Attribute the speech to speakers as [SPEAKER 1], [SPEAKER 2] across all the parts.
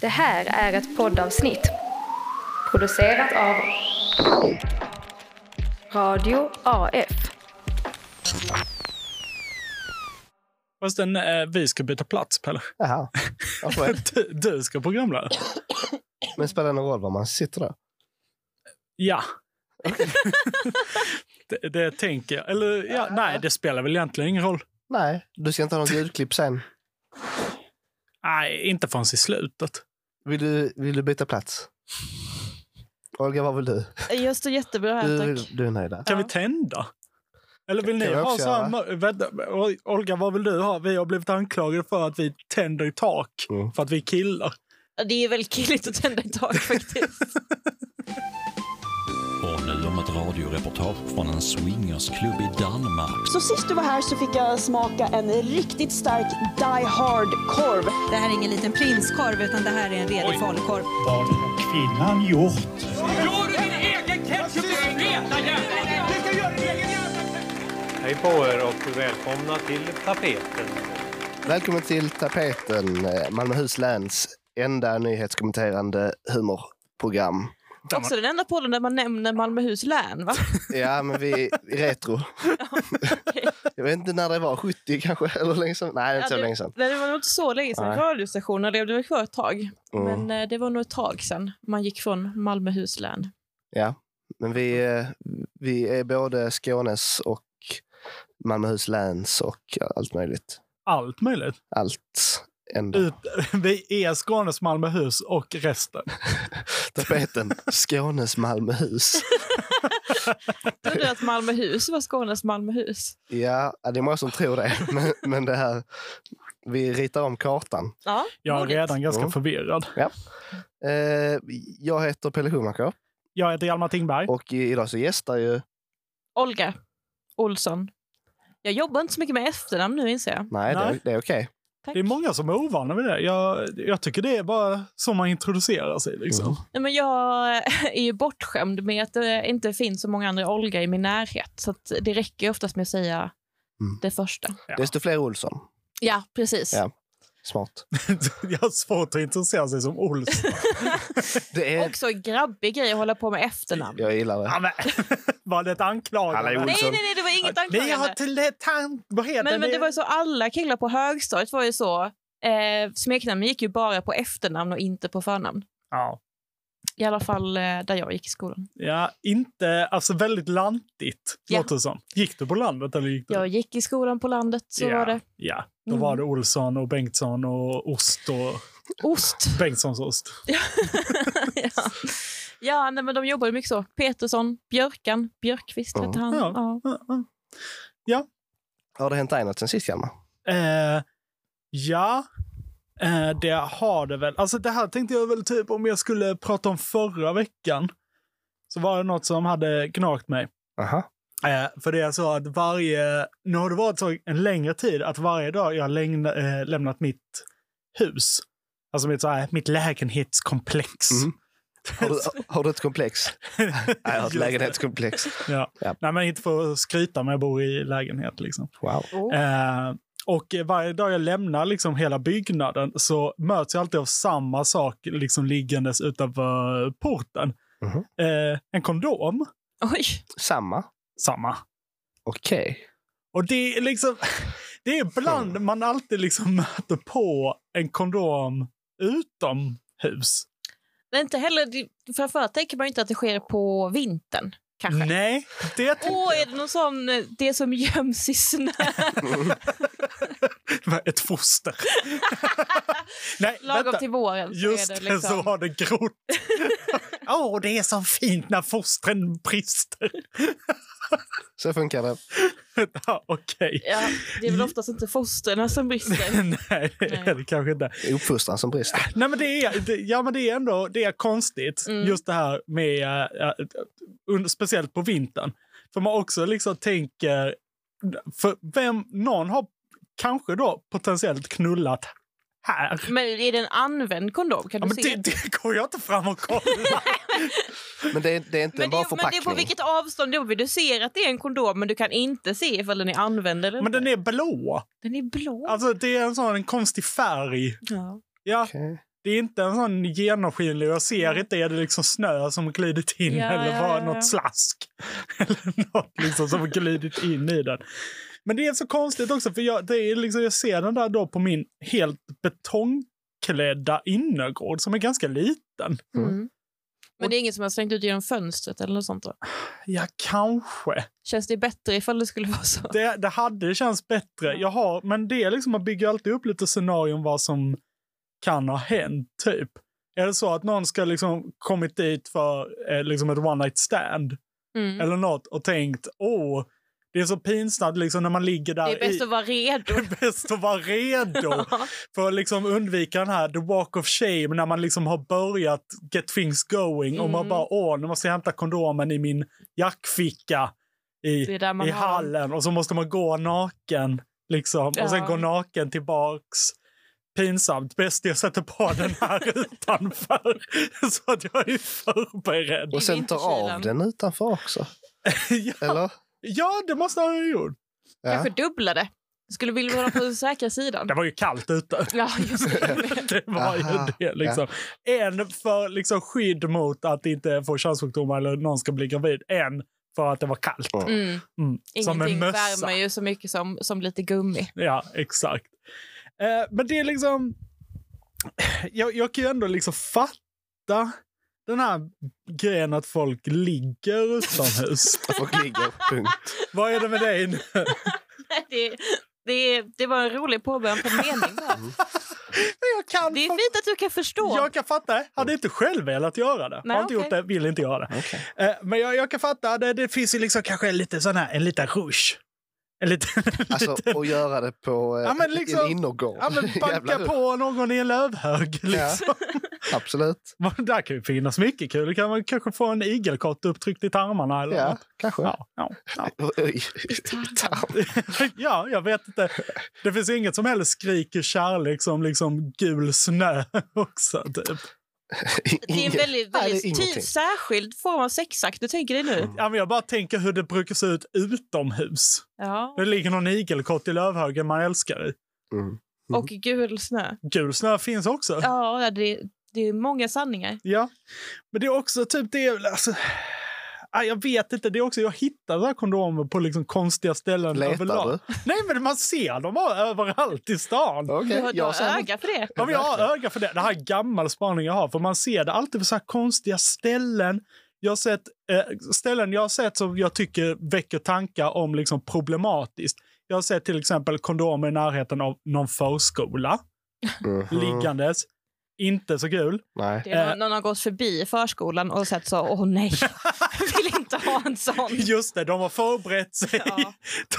[SPEAKER 1] Det här är ett poddavsnitt producerat av Radio AF.
[SPEAKER 2] Fastän eh, vi ska byta plats, Pelle.
[SPEAKER 3] Jaha. Varför är-
[SPEAKER 2] Du, du ska programleda.
[SPEAKER 3] Men spelar det någon roll var man sitter då?
[SPEAKER 2] Ja. det, det tänker jag. Eller ja, nej, det spelar väl egentligen ingen roll.
[SPEAKER 3] Nej, du ska inte ha något ljudklipp sen.
[SPEAKER 2] Nej, inte förrän i slutet.
[SPEAKER 3] Vill du, vill du byta plats? Olga, vad vill du?
[SPEAKER 4] Jag står jättebra här,
[SPEAKER 3] Du,
[SPEAKER 4] tack.
[SPEAKER 3] du är nöjd där.
[SPEAKER 2] Kan vi tända? Eller vill
[SPEAKER 3] Kan
[SPEAKER 2] ni
[SPEAKER 3] vi
[SPEAKER 2] ha
[SPEAKER 3] också
[SPEAKER 2] så här...
[SPEAKER 3] göra?
[SPEAKER 2] mör- Vänta, Ol- Olga, vad vill du ha? Vi har blivit anklagade för att vi tänder i tak.
[SPEAKER 3] Mm.
[SPEAKER 2] För att vi är killar.
[SPEAKER 4] Ja, Det är väldigt killigt att tända ett tak faktiskt.
[SPEAKER 5] Och nu om ett radioreportage från en swingersklubb i Danmark.
[SPEAKER 6] Så sist du var här så fick jag smaka en riktigt stark Die Hard-korv.
[SPEAKER 7] Det här är ingen liten prinskorv utan det här är en redig falukorv.
[SPEAKER 8] kvinnan gjort?
[SPEAKER 9] Hej på er och välkomna till tapeten.
[SPEAKER 3] Välkommen till Tapeten, eh, Malmöhus läns enda nyhetskommenterande humorprogram.
[SPEAKER 4] Också den enda podden där man nämner Malmöhus län, va?
[SPEAKER 3] Ja, men vi är retro. Jag vet inte när det var, 70 kanske? Eller länge sedan? Nej, inte
[SPEAKER 4] Ja,
[SPEAKER 3] så
[SPEAKER 4] det-
[SPEAKER 3] länge sedan.
[SPEAKER 4] Nej, det var nog inte så länge sedan.
[SPEAKER 3] Nej.
[SPEAKER 4] Radiostationerna levde väl kvar ett tag.
[SPEAKER 3] Mm.
[SPEAKER 4] Men eh, det var nog ett tag sedan man gick från Malmöhus län.
[SPEAKER 3] Men vi, eh, vi är både Skånes och Malmöhus läns och allt möjligt.
[SPEAKER 2] Allt möjligt.
[SPEAKER 3] Allt ända.
[SPEAKER 2] Ut, vi är Skånes Malmöhus och resten.
[SPEAKER 3] Tapeten Skånes Malmöhus.
[SPEAKER 4] Jag trodde att Malmöhus var Skånes Malmöhus.
[SPEAKER 3] Ja, det är många som tror det. Men, men det här, vi ritar om kartan.
[SPEAKER 4] Ja,
[SPEAKER 2] Jag är
[SPEAKER 4] modigt.
[SPEAKER 2] redan ganska
[SPEAKER 3] Mm.
[SPEAKER 2] förvirrad.
[SPEAKER 3] Eh, jag heter Pelle Schumacher
[SPEAKER 2] Jag heter Hjalmar Tingberg.
[SPEAKER 3] och i- idag så gästar ju...
[SPEAKER 4] Olga Olsson. Jag jobbar inte så mycket med efternamn nu inser jag.
[SPEAKER 3] Nej,
[SPEAKER 2] Nej.
[SPEAKER 3] Det, det är okej.
[SPEAKER 4] Tack.
[SPEAKER 2] Det är många som är ovana vid det. Jag, jag tycker det är bara så man introducerar sig. Liksom.
[SPEAKER 3] Mm.
[SPEAKER 4] Nej, men jag eh, är ju bortskämd med att det inte finns så många andra Olga i min närhet. Så att det räcker ju oftast med att säga
[SPEAKER 3] Mm.
[SPEAKER 4] det första.
[SPEAKER 2] Ja.
[SPEAKER 3] Desto fler Olsson.
[SPEAKER 4] Ja, precis.
[SPEAKER 3] Ja. Smart.
[SPEAKER 2] Jag har svårt att intressera sig som Olsson.
[SPEAKER 3] Det är,
[SPEAKER 4] Också en grabbig grej att hålla på med efternamn.
[SPEAKER 3] jag gillar det.
[SPEAKER 2] Ja, men, Var det ett anklagande?
[SPEAKER 3] Alla är
[SPEAKER 4] Nej,
[SPEAKER 3] Olsson.
[SPEAKER 4] nej, nej, det var inget
[SPEAKER 2] Ni har
[SPEAKER 4] anklagande.
[SPEAKER 2] till det tan- Vad heter
[SPEAKER 4] Men, men det var ju så, alla killar på högstadiet var ju så. Eh, smeknamn gick ju bara på efternamn och inte på förnamn.
[SPEAKER 2] Ja.
[SPEAKER 4] I alla fall eh, där jag gick i skolan.
[SPEAKER 2] ja, inte... Alltså väldigt lantigt,
[SPEAKER 4] Ja.
[SPEAKER 2] låter det som. Gick du på landet eller gick du...
[SPEAKER 4] Jag gick i skolan på landet, så
[SPEAKER 2] ja.
[SPEAKER 4] var det
[SPEAKER 2] Ja, då
[SPEAKER 4] Mm.
[SPEAKER 2] var det Olsson och Bengtsson och ost och
[SPEAKER 4] ost.
[SPEAKER 2] Bengtssons ost.
[SPEAKER 4] ja, ja nej, men de jobbade mycket så. Petersson, Björkan, Björkqvist hette han.
[SPEAKER 2] Ja.
[SPEAKER 4] Ja.
[SPEAKER 2] mm.
[SPEAKER 3] Har det hänt dig något sen sist, Hjalmar?
[SPEAKER 2] Eh, ja, eh, det har det väl. Alltså det här tänkte jag väl typ om jag skulle prata om förra veckan. Så var det något som hade gnagt mig.
[SPEAKER 3] Aha.
[SPEAKER 2] Eh, för det är så att varje, nu har det varit så en längre tid att varje dag jag har längna, eh, lämnat mitt hus, alltså mitt, så här, mitt lägenhetskomplex.
[SPEAKER 3] Mm. Har, du, har du ett komplex? Nej, jag har ett lägenhetskomplex.
[SPEAKER 2] ja.
[SPEAKER 3] Ja.
[SPEAKER 2] Nej, men inte för att skryta, men jag bor i lägenhet liksom.
[SPEAKER 3] Wow.
[SPEAKER 2] Eh, och varje dag jag lämnar liksom hela byggnaden så möts jag alltid av samma sak liksom liggandes utanför porten.
[SPEAKER 3] Mhm.
[SPEAKER 2] Eh, en kondom,
[SPEAKER 4] Oj,
[SPEAKER 3] Samma?
[SPEAKER 2] samma.
[SPEAKER 3] Okej.
[SPEAKER 2] Och det är liksom, det är ibland man alltid liksom möter på en kondom utomhus.
[SPEAKER 4] men inte heller, det- framförallt tänker man ju inte att det sker på vintern. Kanske.
[SPEAKER 2] Nej, det typ tycker
[SPEAKER 4] Åh, är det någon sån, eh, det som göms i snö?
[SPEAKER 2] jag var ett foster. Nej,
[SPEAKER 4] Lagom
[SPEAKER 2] vänta.
[SPEAKER 4] till våren. Så
[SPEAKER 2] Just
[SPEAKER 4] är
[SPEAKER 2] det,
[SPEAKER 4] det, liksom.
[SPEAKER 2] så har det grott. Åh, det är så fint när fostren brister.
[SPEAKER 3] Så funkar det.
[SPEAKER 2] ja, okej.
[SPEAKER 4] Ja, det är väl oftast inte fosterna som brister.
[SPEAKER 2] Nej, det är det kanske inte.
[SPEAKER 3] Det är Uppfostran som brister.
[SPEAKER 2] Nej, men det är, det, ja, men det är ändå det är konstigt,
[SPEAKER 4] Mm.
[SPEAKER 2] just det här med... eh, eh, under, speciellt på vintern. För man också liksom tänker... För vem, någon har kanske då potentiellt knullat här.
[SPEAKER 4] Men är det en använd kondom? Kan
[SPEAKER 2] Ja,
[SPEAKER 4] du
[SPEAKER 2] men
[SPEAKER 4] se?
[SPEAKER 2] det, det går jag inte fram och kolla.
[SPEAKER 3] Men det är, det är inte
[SPEAKER 4] men,
[SPEAKER 3] bara
[SPEAKER 4] det, men det är
[SPEAKER 3] förpackning.
[SPEAKER 4] på vilket avstånd du vill. Du ser att det är en kondom, men du kan inte se ifall den är använd eller
[SPEAKER 2] men
[SPEAKER 4] inte.
[SPEAKER 2] den är blå.
[SPEAKER 4] Den är blå.
[SPEAKER 2] Alltså, det är en sån en konstig färg.
[SPEAKER 4] ja.
[SPEAKER 2] Ja,
[SPEAKER 3] Okej.
[SPEAKER 2] Det är inte en sån genomskinlig, jag ser inte, är det liksom snö som glidit in
[SPEAKER 4] Ja,
[SPEAKER 2] eller
[SPEAKER 4] ja,
[SPEAKER 2] bara
[SPEAKER 4] ja, ja.
[SPEAKER 2] något slask? eller något liksom som glidit in i den. Men det är så konstigt också, för jag, det är liksom, jag ser den där då på min helt betongklädda innergård som är ganska liten.
[SPEAKER 4] Mm. Men det är ingen som har slängt ut genom fönstret eller något sånt då?
[SPEAKER 2] Ja, kanske.
[SPEAKER 4] Känns det bättre ifall det skulle vara så?
[SPEAKER 2] Det, det hade känts bättre. Jag har, men det är liksom, man bygger alltid upp lite scenarion vad som kan ha hänt, typ. Är det så att någon ska liksom kommit dit för eh, liksom ett one night stand
[SPEAKER 4] Mm.
[SPEAKER 2] eller något och tänkt åh, det är så pinsamt liksom när man ligger där
[SPEAKER 4] Det är bäst
[SPEAKER 2] i-
[SPEAKER 4] att vara redo.
[SPEAKER 2] det är bäst att vara redo för att liksom undvika den här the walk of shame när man liksom har börjat get things going och man
[SPEAKER 4] Mm.
[SPEAKER 2] bara åh, nu måste jag hämta kondomen i min jackficka i
[SPEAKER 4] Det är där man
[SPEAKER 2] i
[SPEAKER 4] har dem.
[SPEAKER 2] hallen och så måste man gå naken liksom och sen
[SPEAKER 4] Ja.
[SPEAKER 2] gå naken tillbaks. Pinsamt. Bäst jag sätter på den här utanför så att jag är förberedd.
[SPEAKER 4] I
[SPEAKER 3] Och sen tar av
[SPEAKER 4] vinterkylan.
[SPEAKER 3] den utanför också.
[SPEAKER 2] ja,
[SPEAKER 3] Eller?
[SPEAKER 2] ja, det måste han ha gjort.
[SPEAKER 3] Ja.
[SPEAKER 4] Kanske dubbla det. Skulle vilja vara på den säkra sidan.
[SPEAKER 2] Det var ju kallt ute.
[SPEAKER 4] Ja, just det.
[SPEAKER 2] det var
[SPEAKER 3] Aha,
[SPEAKER 2] ju det. Liksom. En för liksom, skydd mot att inte få könssjukdomar eller någon ska bli gravid. En för att det var kallt.
[SPEAKER 4] Mm.
[SPEAKER 2] Mm. Som en
[SPEAKER 4] Ingenting
[SPEAKER 2] mössa.
[SPEAKER 4] värmer ju så mycket som, som lite gummi.
[SPEAKER 2] Ja, exakt. Eh, men det är liksom... Jag, jag kan ju ändå liksom fatta den här grejen att folk ligger utomhus.
[SPEAKER 3] Folk ligger, punkt.
[SPEAKER 2] Vad är det med dig nu?
[SPEAKER 4] Det, det, det var en rolig påbörjan på en mening. Där.
[SPEAKER 2] Jag kan,
[SPEAKER 4] Det är
[SPEAKER 2] fa-
[SPEAKER 4] fint att du kan förstå.
[SPEAKER 2] jag kan fatta. det. Hade inte själv velat göra det.
[SPEAKER 4] Nej,
[SPEAKER 2] Har inte
[SPEAKER 4] okej.
[SPEAKER 2] gjort det, vill inte göra det. Eh, men jag, jag kan fatta. Det, det finns ju liksom kanske en liten sån här, en liten rush. En liten...
[SPEAKER 3] Alltså,
[SPEAKER 2] liten
[SPEAKER 3] och göra det på eh,
[SPEAKER 2] Ja, men liksom-
[SPEAKER 3] en innergård.
[SPEAKER 2] ja, men
[SPEAKER 3] Jävla
[SPEAKER 2] banka
[SPEAKER 3] rutt.
[SPEAKER 2] på någon i en lövhög. Liksom.
[SPEAKER 3] Absolut.
[SPEAKER 2] Där kan ju finnas mycket kul. Det kan man kanske få en igelkott upptryckt i tarmarna. Eller
[SPEAKER 3] Ja,
[SPEAKER 2] något.
[SPEAKER 3] kanske.
[SPEAKER 2] Ja, ja, ja.
[SPEAKER 3] Oj, tarm.
[SPEAKER 2] ja, jag vet inte. Det finns inget som heller skriker kärlek som liksom gul snö också. Typ.
[SPEAKER 4] Det är en
[SPEAKER 3] Ingen- Nej,
[SPEAKER 4] väldigt,
[SPEAKER 3] det är
[SPEAKER 4] väldigt ty-
[SPEAKER 3] ingenting. Mm.
[SPEAKER 4] särskild form av sexakt. Du tänker det nu?
[SPEAKER 2] Ja, men jag bara tänker hur det brukar se ut utomhus.
[SPEAKER 4] Ja.
[SPEAKER 2] Det ligger någon igelkott i lövhögen man älskar i.
[SPEAKER 3] Mm.
[SPEAKER 4] Och gul snö.
[SPEAKER 2] Gul snö finns också.
[SPEAKER 4] Ja, det, det är många sanningar.
[SPEAKER 2] Ja, men det är också typ det... Alltså, ah, jag vet inte. Det är också, jag hittar så här kondomer på liksom konstiga ställen
[SPEAKER 3] Letar
[SPEAKER 2] överlag.
[SPEAKER 3] du?
[SPEAKER 2] Nej, men man ser dem överallt i stan.
[SPEAKER 3] Okej,
[SPEAKER 4] Du har, du
[SPEAKER 3] jag
[SPEAKER 4] har
[SPEAKER 3] säger
[SPEAKER 4] öga för det.
[SPEAKER 2] Ja, men jag har öga för det. Det här är gammal spaning jag har. För man ser det alltid på så här konstiga ställen. Jag har sett, eh, ställen jag har sett som jag tycker väcker tankar om liksom problematiskt. Jag har sett till exempel kondomer i närheten av någon förskola
[SPEAKER 3] Mhm.
[SPEAKER 2] liggandes. Inte så kul.
[SPEAKER 3] Nej.
[SPEAKER 4] det är någon, någon har gått förbi förskolan och sett så, åh nej, jag vill inte ha en sån.
[SPEAKER 2] Just det, de har förberett sig.
[SPEAKER 4] Ja.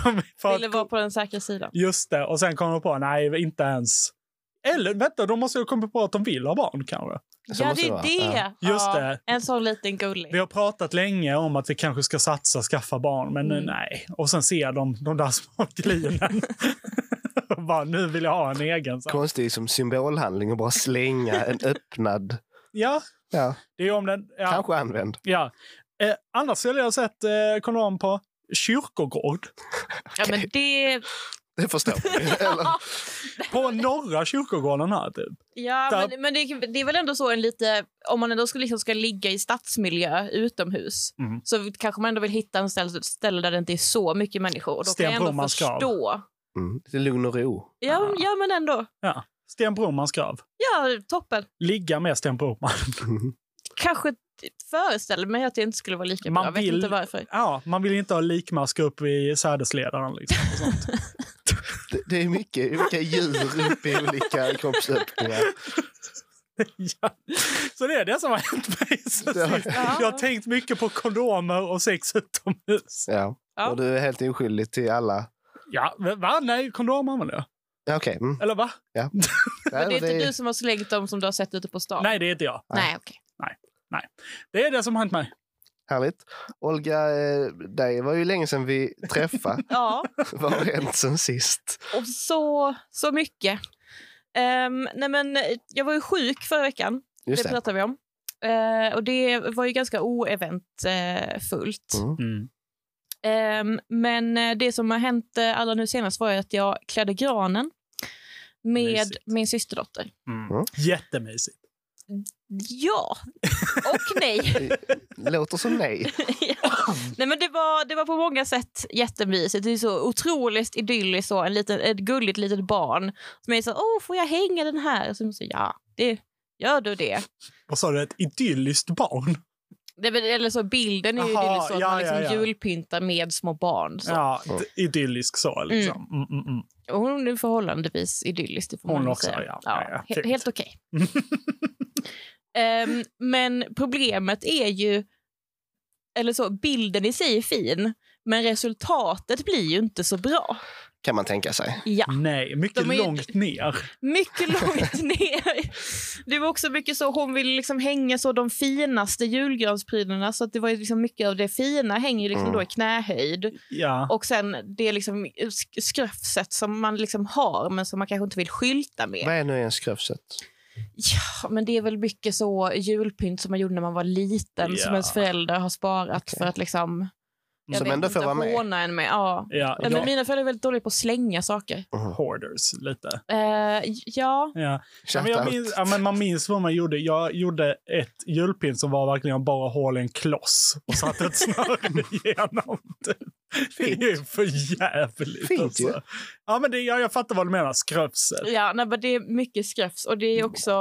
[SPEAKER 2] De är för-
[SPEAKER 4] Ville vara på den säkra sidan.
[SPEAKER 2] Just det, och sen kommer de på, nej, inte ens. Eller vänta, de måste ju komma på att de vill ha barn kanske.
[SPEAKER 3] Så
[SPEAKER 4] ja,
[SPEAKER 3] måste
[SPEAKER 4] det är
[SPEAKER 3] vara. Ja.
[SPEAKER 4] det.
[SPEAKER 2] Just
[SPEAKER 4] ja,
[SPEAKER 2] det.
[SPEAKER 4] En sån liten gullig.
[SPEAKER 2] Vi har pratat länge om att vi kanske ska satsa, skaffa barn, men
[SPEAKER 4] Mm.
[SPEAKER 2] nej. Och sen ser de de där små glinen. Och bara, nu vill jag ha en egen. Så. här.
[SPEAKER 3] Konstigt som symbolhandling att bara slänga en öppnad.
[SPEAKER 2] Ja,
[SPEAKER 3] Ja,
[SPEAKER 2] det är om den... Ja,
[SPEAKER 3] Kanske använd.
[SPEAKER 2] Ja. Eh, annars har jag sett eh, kondom på kyrkogård.
[SPEAKER 4] Ja, men det...
[SPEAKER 3] Det förstår vi. Eller,
[SPEAKER 2] På norra kyrkogården här typ.
[SPEAKER 4] Ja,
[SPEAKER 2] Där-
[SPEAKER 4] men, men det, det är väl ändå så en lite... Om man ändå ska, liksom ska ligga i stadsmiljö utomhus
[SPEAKER 2] Mm.
[SPEAKER 4] så kanske man ändå vill hitta en ställe, ställe där det inte är så mycket människor. Och då
[SPEAKER 2] Sten
[SPEAKER 4] kan jag ändå
[SPEAKER 2] Brommans grav.
[SPEAKER 4] förstå.
[SPEAKER 3] mm, lite lugn och ro.
[SPEAKER 4] Ja,
[SPEAKER 2] Ah.
[SPEAKER 4] men- ja, men ändå.
[SPEAKER 2] Ja. Sten Bromans grav.
[SPEAKER 4] Ja, toppen.
[SPEAKER 2] Ligga med Sten Broman.
[SPEAKER 4] Kanske föreställer mig att det inte skulle vara lika
[SPEAKER 2] Man
[SPEAKER 4] bra. Jag vet
[SPEAKER 2] vill-
[SPEAKER 4] inte varför.
[SPEAKER 2] Ja, man vill inte ha likmask upp i sädesledaren. Liksom, och sånt.
[SPEAKER 3] Det, det är mycket olika djur upp i olika kroppsöppningar.
[SPEAKER 2] Ja. Så det är det som har hänt mig sen
[SPEAKER 3] Det har-
[SPEAKER 2] sist. Jag har tänkt mycket på kondomer och sex utomhus.
[SPEAKER 3] Ja.
[SPEAKER 4] Ja.
[SPEAKER 3] Och du är helt oskyldig till alla.
[SPEAKER 2] Ja, men va? Nej, kondom använder jag.
[SPEAKER 3] Ja, okej. Mm.
[SPEAKER 2] Eller va?
[SPEAKER 4] Men det är
[SPEAKER 3] Ja,
[SPEAKER 4] inte du som har slängt dem som du har sett ute på stan?
[SPEAKER 2] Nej, det är inte jag.
[SPEAKER 4] Nej, okej.
[SPEAKER 2] Det är det som har hänt mig.
[SPEAKER 3] Härligt. Olga, eh, det var ju länge sedan vi träffade.
[SPEAKER 4] Ja,
[SPEAKER 3] Vad har hänt sen sist?
[SPEAKER 4] och så, så mycket. Ehm, nej men, jag var ju sjuk förra veckan.
[SPEAKER 3] Just
[SPEAKER 4] det
[SPEAKER 3] det.
[SPEAKER 4] pratade vi om. Eh, och det var ju ganska oeventfullt.
[SPEAKER 3] Mm.
[SPEAKER 4] Ehm, men eh, det som har hänt eh, allra nu senast var ju att jag klädde granen. med
[SPEAKER 2] Mysigt.
[SPEAKER 4] min systerdotter.
[SPEAKER 2] Jättemysigt.
[SPEAKER 4] Ja, och nej.
[SPEAKER 3] Låter som nej.
[SPEAKER 4] nej men det, var, det var på många sätt jättemysigt. Det är så otroligt idylliskt, så, en liten, ett gulligt litet barn som är så åh, får jag hänga den här? Och så, så, ja, det, gör du det.
[SPEAKER 2] Vad sa du? Ett idylliskt barn?
[SPEAKER 4] Nej, men, eller så bilden är ju
[SPEAKER 2] Aha,
[SPEAKER 4] idyllisk så att
[SPEAKER 2] ja,
[SPEAKER 4] man
[SPEAKER 2] ja,
[SPEAKER 4] liksom
[SPEAKER 2] ja.
[SPEAKER 4] julpyntar med små barn. Så.
[SPEAKER 2] Ja, d- idyllisk så liksom. Mm. Mm, mm,
[SPEAKER 4] Och Hon är förhållandevis idyllisk. Det får
[SPEAKER 2] Hon
[SPEAKER 4] man väl
[SPEAKER 2] också,
[SPEAKER 4] säga.
[SPEAKER 2] ja. Ja, ja,
[SPEAKER 4] he-
[SPEAKER 2] fint.
[SPEAKER 4] Helt okej. Ehm, men problemet är ju... Eller så, bilden i sig är fin, men resultatet blir ju inte så bra.
[SPEAKER 3] Kan man tänka sig.
[SPEAKER 4] Ja,
[SPEAKER 2] Nej, mycket
[SPEAKER 4] De är ju-
[SPEAKER 2] långt ner.
[SPEAKER 4] mycket långt ner. Det var också mycket så, hon ville liksom hänga så de finaste julgransprylarna, så att det var ju liksom mycket av det fina hänger ju liksom
[SPEAKER 3] Mm.
[SPEAKER 4] då i knähöjd.
[SPEAKER 2] Ja.
[SPEAKER 4] Och sen det liksom sk- skröfset som man liksom har, men som man kanske inte vill skylta med.
[SPEAKER 3] Vad är nu ens Skröfset?
[SPEAKER 4] Ja, men det är väl mycket så julpynt som man gjorde när man var liten
[SPEAKER 2] Ja.
[SPEAKER 4] som ens föräldrar har sparat
[SPEAKER 3] Okej.
[SPEAKER 4] för att liksom... jag
[SPEAKER 3] Som
[SPEAKER 4] vet
[SPEAKER 3] ändå får
[SPEAKER 4] inte,
[SPEAKER 3] vara med.
[SPEAKER 4] håna En med. Ja.
[SPEAKER 2] Ja,
[SPEAKER 4] Ja,
[SPEAKER 2] ja.
[SPEAKER 4] Men mina föräldrar är väldigt dåliga på att slänga saker.
[SPEAKER 2] Hoarders, lite.
[SPEAKER 4] Eh, ja,
[SPEAKER 2] Ja. Ja, men jag
[SPEAKER 3] Shoutout.
[SPEAKER 2] minns, ja, men man minns vad man gjorde. Jag gjorde ett julpynt som var verkligen bara hål i en kloss och satte ett snöre igenom. det. Det är ju för jävligt.
[SPEAKER 3] Fint ju.
[SPEAKER 2] alltså. ja, men det, ja, jag fattar vad du menar. Skröpset.
[SPEAKER 4] ja nej, men det är mycket skrafs. Och det är också...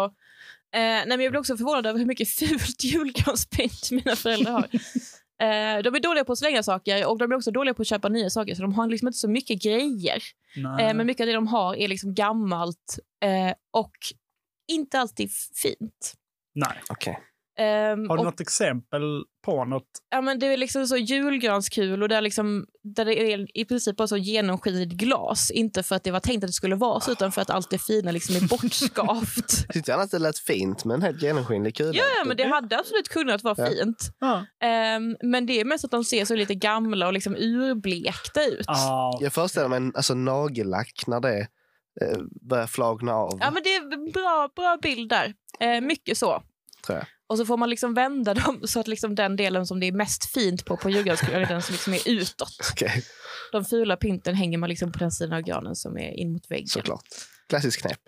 [SPEAKER 4] eh, nej, men jag blir också förvånad över hur mycket fult julgranspynt mina föräldrar har. Eh, de är dåliga på att slänga saker och de är också dåliga på att köpa nya saker. Så de har liksom inte så mycket grejer.
[SPEAKER 2] Nej.
[SPEAKER 4] Eh, men mycket av det de har är liksom gammalt eh, och inte alltid fint.
[SPEAKER 2] Nej.
[SPEAKER 3] Okej.
[SPEAKER 4] Ehm,
[SPEAKER 2] Har du
[SPEAKER 4] och,
[SPEAKER 2] något exempel på något?
[SPEAKER 4] ja, men det är liksom så julgranskulor där, liksom, där det är i princip bara så genomskinligt glas. Inte för att det var tänkt att det skulle vara så, utan för att allt det fina liksom är bortskavt.
[SPEAKER 3] Tyckte gärna att det lät fint med en helt genomskinlig kula.
[SPEAKER 4] ja, ja, men det hade absolut kunnat vara
[SPEAKER 3] Ja.
[SPEAKER 4] fint.
[SPEAKER 2] Ja.
[SPEAKER 4] Ehm, men det är mest att de ser så lite gamla och liksom urblekta ut.
[SPEAKER 2] Ah,
[SPEAKER 3] Jag föreställer mig en alltså, nagellack när det eh, börjar flagna av.
[SPEAKER 4] Ja, men det är en bra, bra bild där. Eh, mycket så.
[SPEAKER 3] Tror jag.
[SPEAKER 4] Och så får man liksom vända dem så att liksom den delen som det är mest fint på på julgranskulan är den som liksom är utåt.
[SPEAKER 3] Okej,
[SPEAKER 4] De fula pynten hänger man liksom på den sidan av granen som är in mot väggen.
[SPEAKER 3] såklart. Klassiskt knep.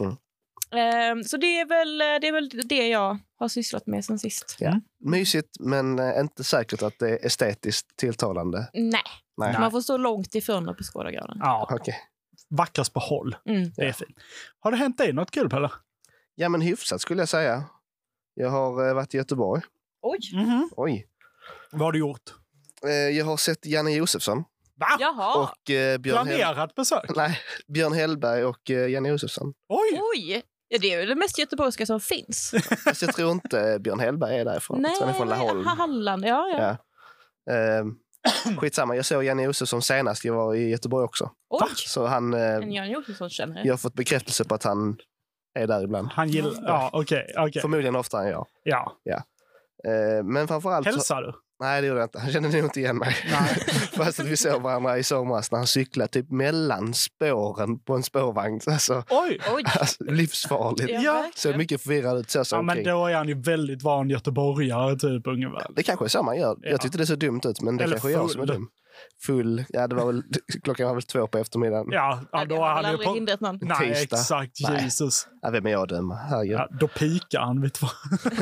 [SPEAKER 4] Eh, så det är, väl, det är väl det jag har sysslat med sen sist.
[SPEAKER 3] Ja. Mysigt, men eh, inte säkert att det är estetiskt tilltalande.
[SPEAKER 4] Nej,
[SPEAKER 3] Nej.
[SPEAKER 4] man får stå långt ifrån och beskåda granen.
[SPEAKER 2] ja.
[SPEAKER 3] Okej.
[SPEAKER 2] Vackrast på håll.
[SPEAKER 4] Mm.
[SPEAKER 2] Det är fint. Har det hänt dig något kul, Pelle?
[SPEAKER 3] Ja, men hyfsat skulle jag säga. Jag har eh, varit i Göteborg.
[SPEAKER 2] Mhm.
[SPEAKER 3] Oj.
[SPEAKER 2] Vad har du gjort?
[SPEAKER 3] Eh, jag har sett Janne Josefsson
[SPEAKER 2] Va?
[SPEAKER 4] Jaha,
[SPEAKER 3] och eh, Björn, Hell-
[SPEAKER 2] Planerat besök?
[SPEAKER 3] Nej, Björn Hellberg och eh, Janne Josefsson.
[SPEAKER 2] Oj!
[SPEAKER 4] oj! Ja, det är väl det mest göteborgska som finns.
[SPEAKER 3] Fast jag tror inte Björn Hellberg är därifrån. jag
[SPEAKER 4] Nej,
[SPEAKER 3] tror han är från Laholm.
[SPEAKER 4] Halland. Ja, ja.
[SPEAKER 3] Ja. Eh, skitsamma, jag såg Janne Josefsson senast jag var i Göteborg också.
[SPEAKER 4] Oj!
[SPEAKER 3] Så han, eh,
[SPEAKER 4] En Göran Josefsson känner jag.
[SPEAKER 3] jag har fått bekräftelse på att han är där ibland.
[SPEAKER 2] Han gillar... Ja, okej. okej.
[SPEAKER 3] Förmodligen oftare än jag.
[SPEAKER 2] Ja.
[SPEAKER 3] Eh, men framförallt... Så,
[SPEAKER 2] Hälsar du?
[SPEAKER 3] nej, det gjorde jag inte. Han kände nog inte igen mig.
[SPEAKER 2] Nej.
[SPEAKER 3] Fast att vi såg varandra i somras när han cyklade typ mellan spåren på en spårvagn. Alltså,
[SPEAKER 2] Oj!
[SPEAKER 4] Oj!
[SPEAKER 3] alltså livsfarligt.
[SPEAKER 2] Ja,
[SPEAKER 3] Såg mycket förvirrad ut. Så, så
[SPEAKER 2] Ja, men då är han ju väldigt van göteborgare, typ ungefär.
[SPEAKER 3] Det kanske är så man gör.
[SPEAKER 2] Ja.
[SPEAKER 3] Jag tyckte det såg dumt ut, men det
[SPEAKER 2] Eller
[SPEAKER 3] kanske är jag som är
[SPEAKER 2] full.
[SPEAKER 3] dum. Full. Ja, det var väl, klockan var väl två på eftermiddagen. Ja.
[SPEAKER 2] Ja, ja då
[SPEAKER 4] det
[SPEAKER 2] är
[SPEAKER 4] har väl
[SPEAKER 2] han ju
[SPEAKER 4] aldrig
[SPEAKER 2] på...
[SPEAKER 4] hindrat någon.
[SPEAKER 2] Nej,
[SPEAKER 3] Tisdag.
[SPEAKER 2] exakt.
[SPEAKER 3] Nej.
[SPEAKER 2] Jesus.
[SPEAKER 3] vem är jag att döma? Herregud.
[SPEAKER 2] Ja, då pikar han, vet du vad?